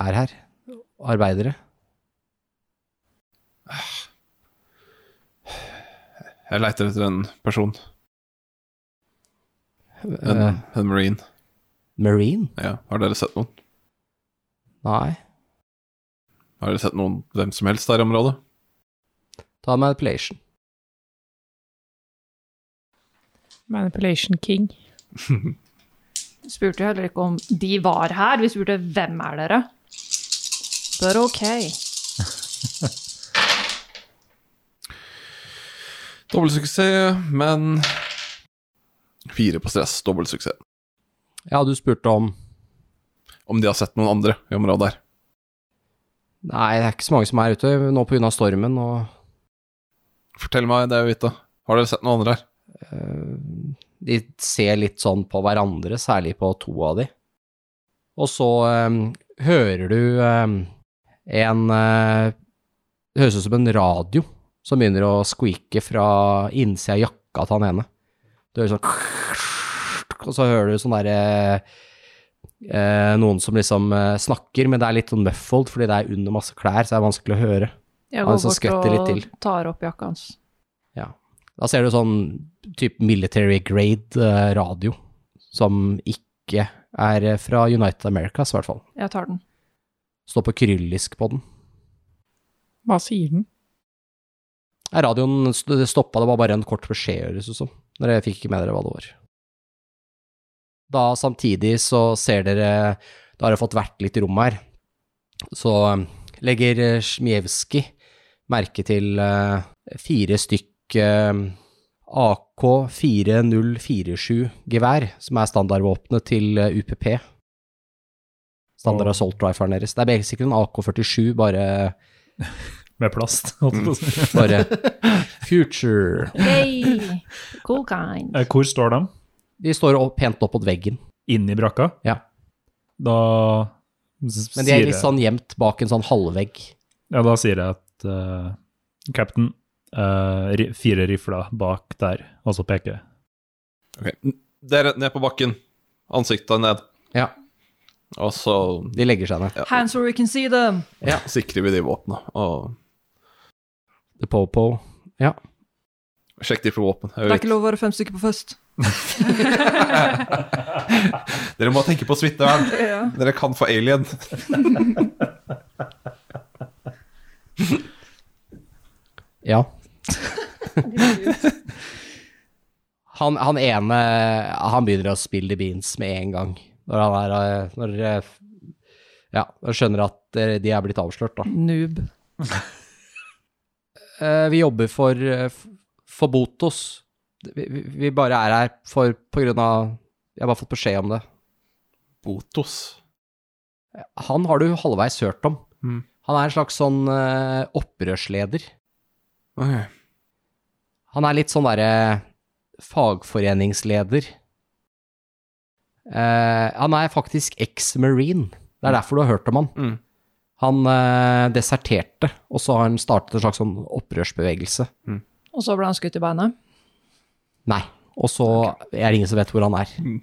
er her. Arbeidere. Jeg leiter etter en person. En, Eh, en marine. Marine? Ja. Har dere sett noen? Nei. Har dere sett noen hvem som helst der i området? Ta manipulation. Manipulation king. Spurte jo heller ikke om de var her, vi spurte hvem er dere? But ok. Dobbeltsuksess, men Fire på stress, dobbeltsuksess. Ja, du spurte om Om de har sett noen andre i området her. Nei, det er ikke så mange som er ute nå pga. stormen og Fortell meg, det er jo vidt, da. Har dere sett noen andre her? eh, De ser litt sånn på hverandre, særlig på to av de. Og så eh, hører du eh, en eh, Det høres ut som en radio som begynner å squeake fra innsida av jakka til han ene. Du hører sånn Og så hører du sånn derre eh, Noen som liksom eh, snakker, men det er litt sånn muffled fordi det er under masse klær, så det er vanskelig å høre. Jeg Han går som skvetter bort litt og til. tar opp jakka hans. Da ser du sånn type military grade eh, radio, som ikke er eh, fra United Americas, i hvert fall. Jeg tar den. Står på kyrillisk på den. Hva sier den? Nei, Radioen st- det stoppa, det var bare en kort beskjed, høres det ut som. Dere fikk ikke med dere hva det var. Da samtidig så ser dere Da har dere fått vært litt i rommet her. Så eh, legger eh, Smjevskij merke til eh, fire stykk eh, AK4047-gevær, som er standardvåpenet til eh, UPP. Standard Og- assault rifle deres. Det er basically en AK47, bare, Med plast, holdt jeg på å si. bare future. Yay! Cool kind. Mm. Eh, Hvor står de? De står opp, pent opp mot veggen, Inni brakka? Ja. Da s- men de er sier litt jeg- sånn gjemt bak en sånn halvvegg. Ja, da sier jeg at uh, Captain, eh, ri- fire rifler bak der, og så peker jeg. Ok, n- Dere ned på bakken. Ansiktet ned. Ja, Og så de legger seg ned. Hands where we can see them. sikrer vi de våpna. Og The Popo. sjekk de for våpen. Jeg Det er vet- ikke lov å være fem stykker på fest. Dere må tenke på smittevern. Ja. Dere kan få alien. Ja. han, han ene, han begynner å spille the beans med en gang. Når han er, eh, når, eh, ja, når han skjønner at eh, de er blitt avslørt, da. Noob. Eh, Vi jobber for, eh, f- for Botos. Vi, vi, vi bare er her for, på grunn av Jeg har bare fått beskjed om det. Botos. Han har du halvveis hørt om. Mm. Han er en slags sånn eh, opprørsleder. Ok. Han er litt sånn derre fagforeningsleder. Eh, han er faktisk eks-marine. Det er derfor du har hørt om han. Mm. Han eh, deserterte, og så har han startet en slags sånn opprørsbevegelse. Og så ble han skutt i beinet. Nei. Og så er det ingen som vet hvor han er. Mm.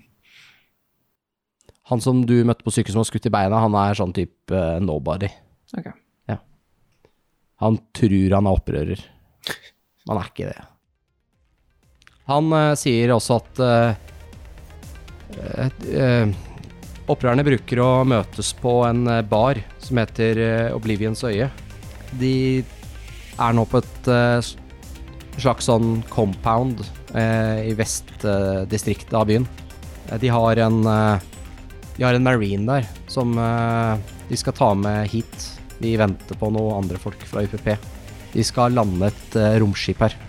Han som du møtte på sykehuset som har skutt i beina, han er sånn type eh, nobody. Ok. Ja. Han tror han er opprører. Men han er ikke det. Han eh, sier også at eh, eh, eh, opprørerne bruker å møtes på en eh, bar som heter eh, Oblivions øye. De er nå på et eh, s- slags sånn compound eh, i vestdistriktet av byen. Eh, De har en eh, De har en marine der som eh, de skal ta med hit. De venter på noen andre folk fra UPP. De skal lande et eh, romskip her.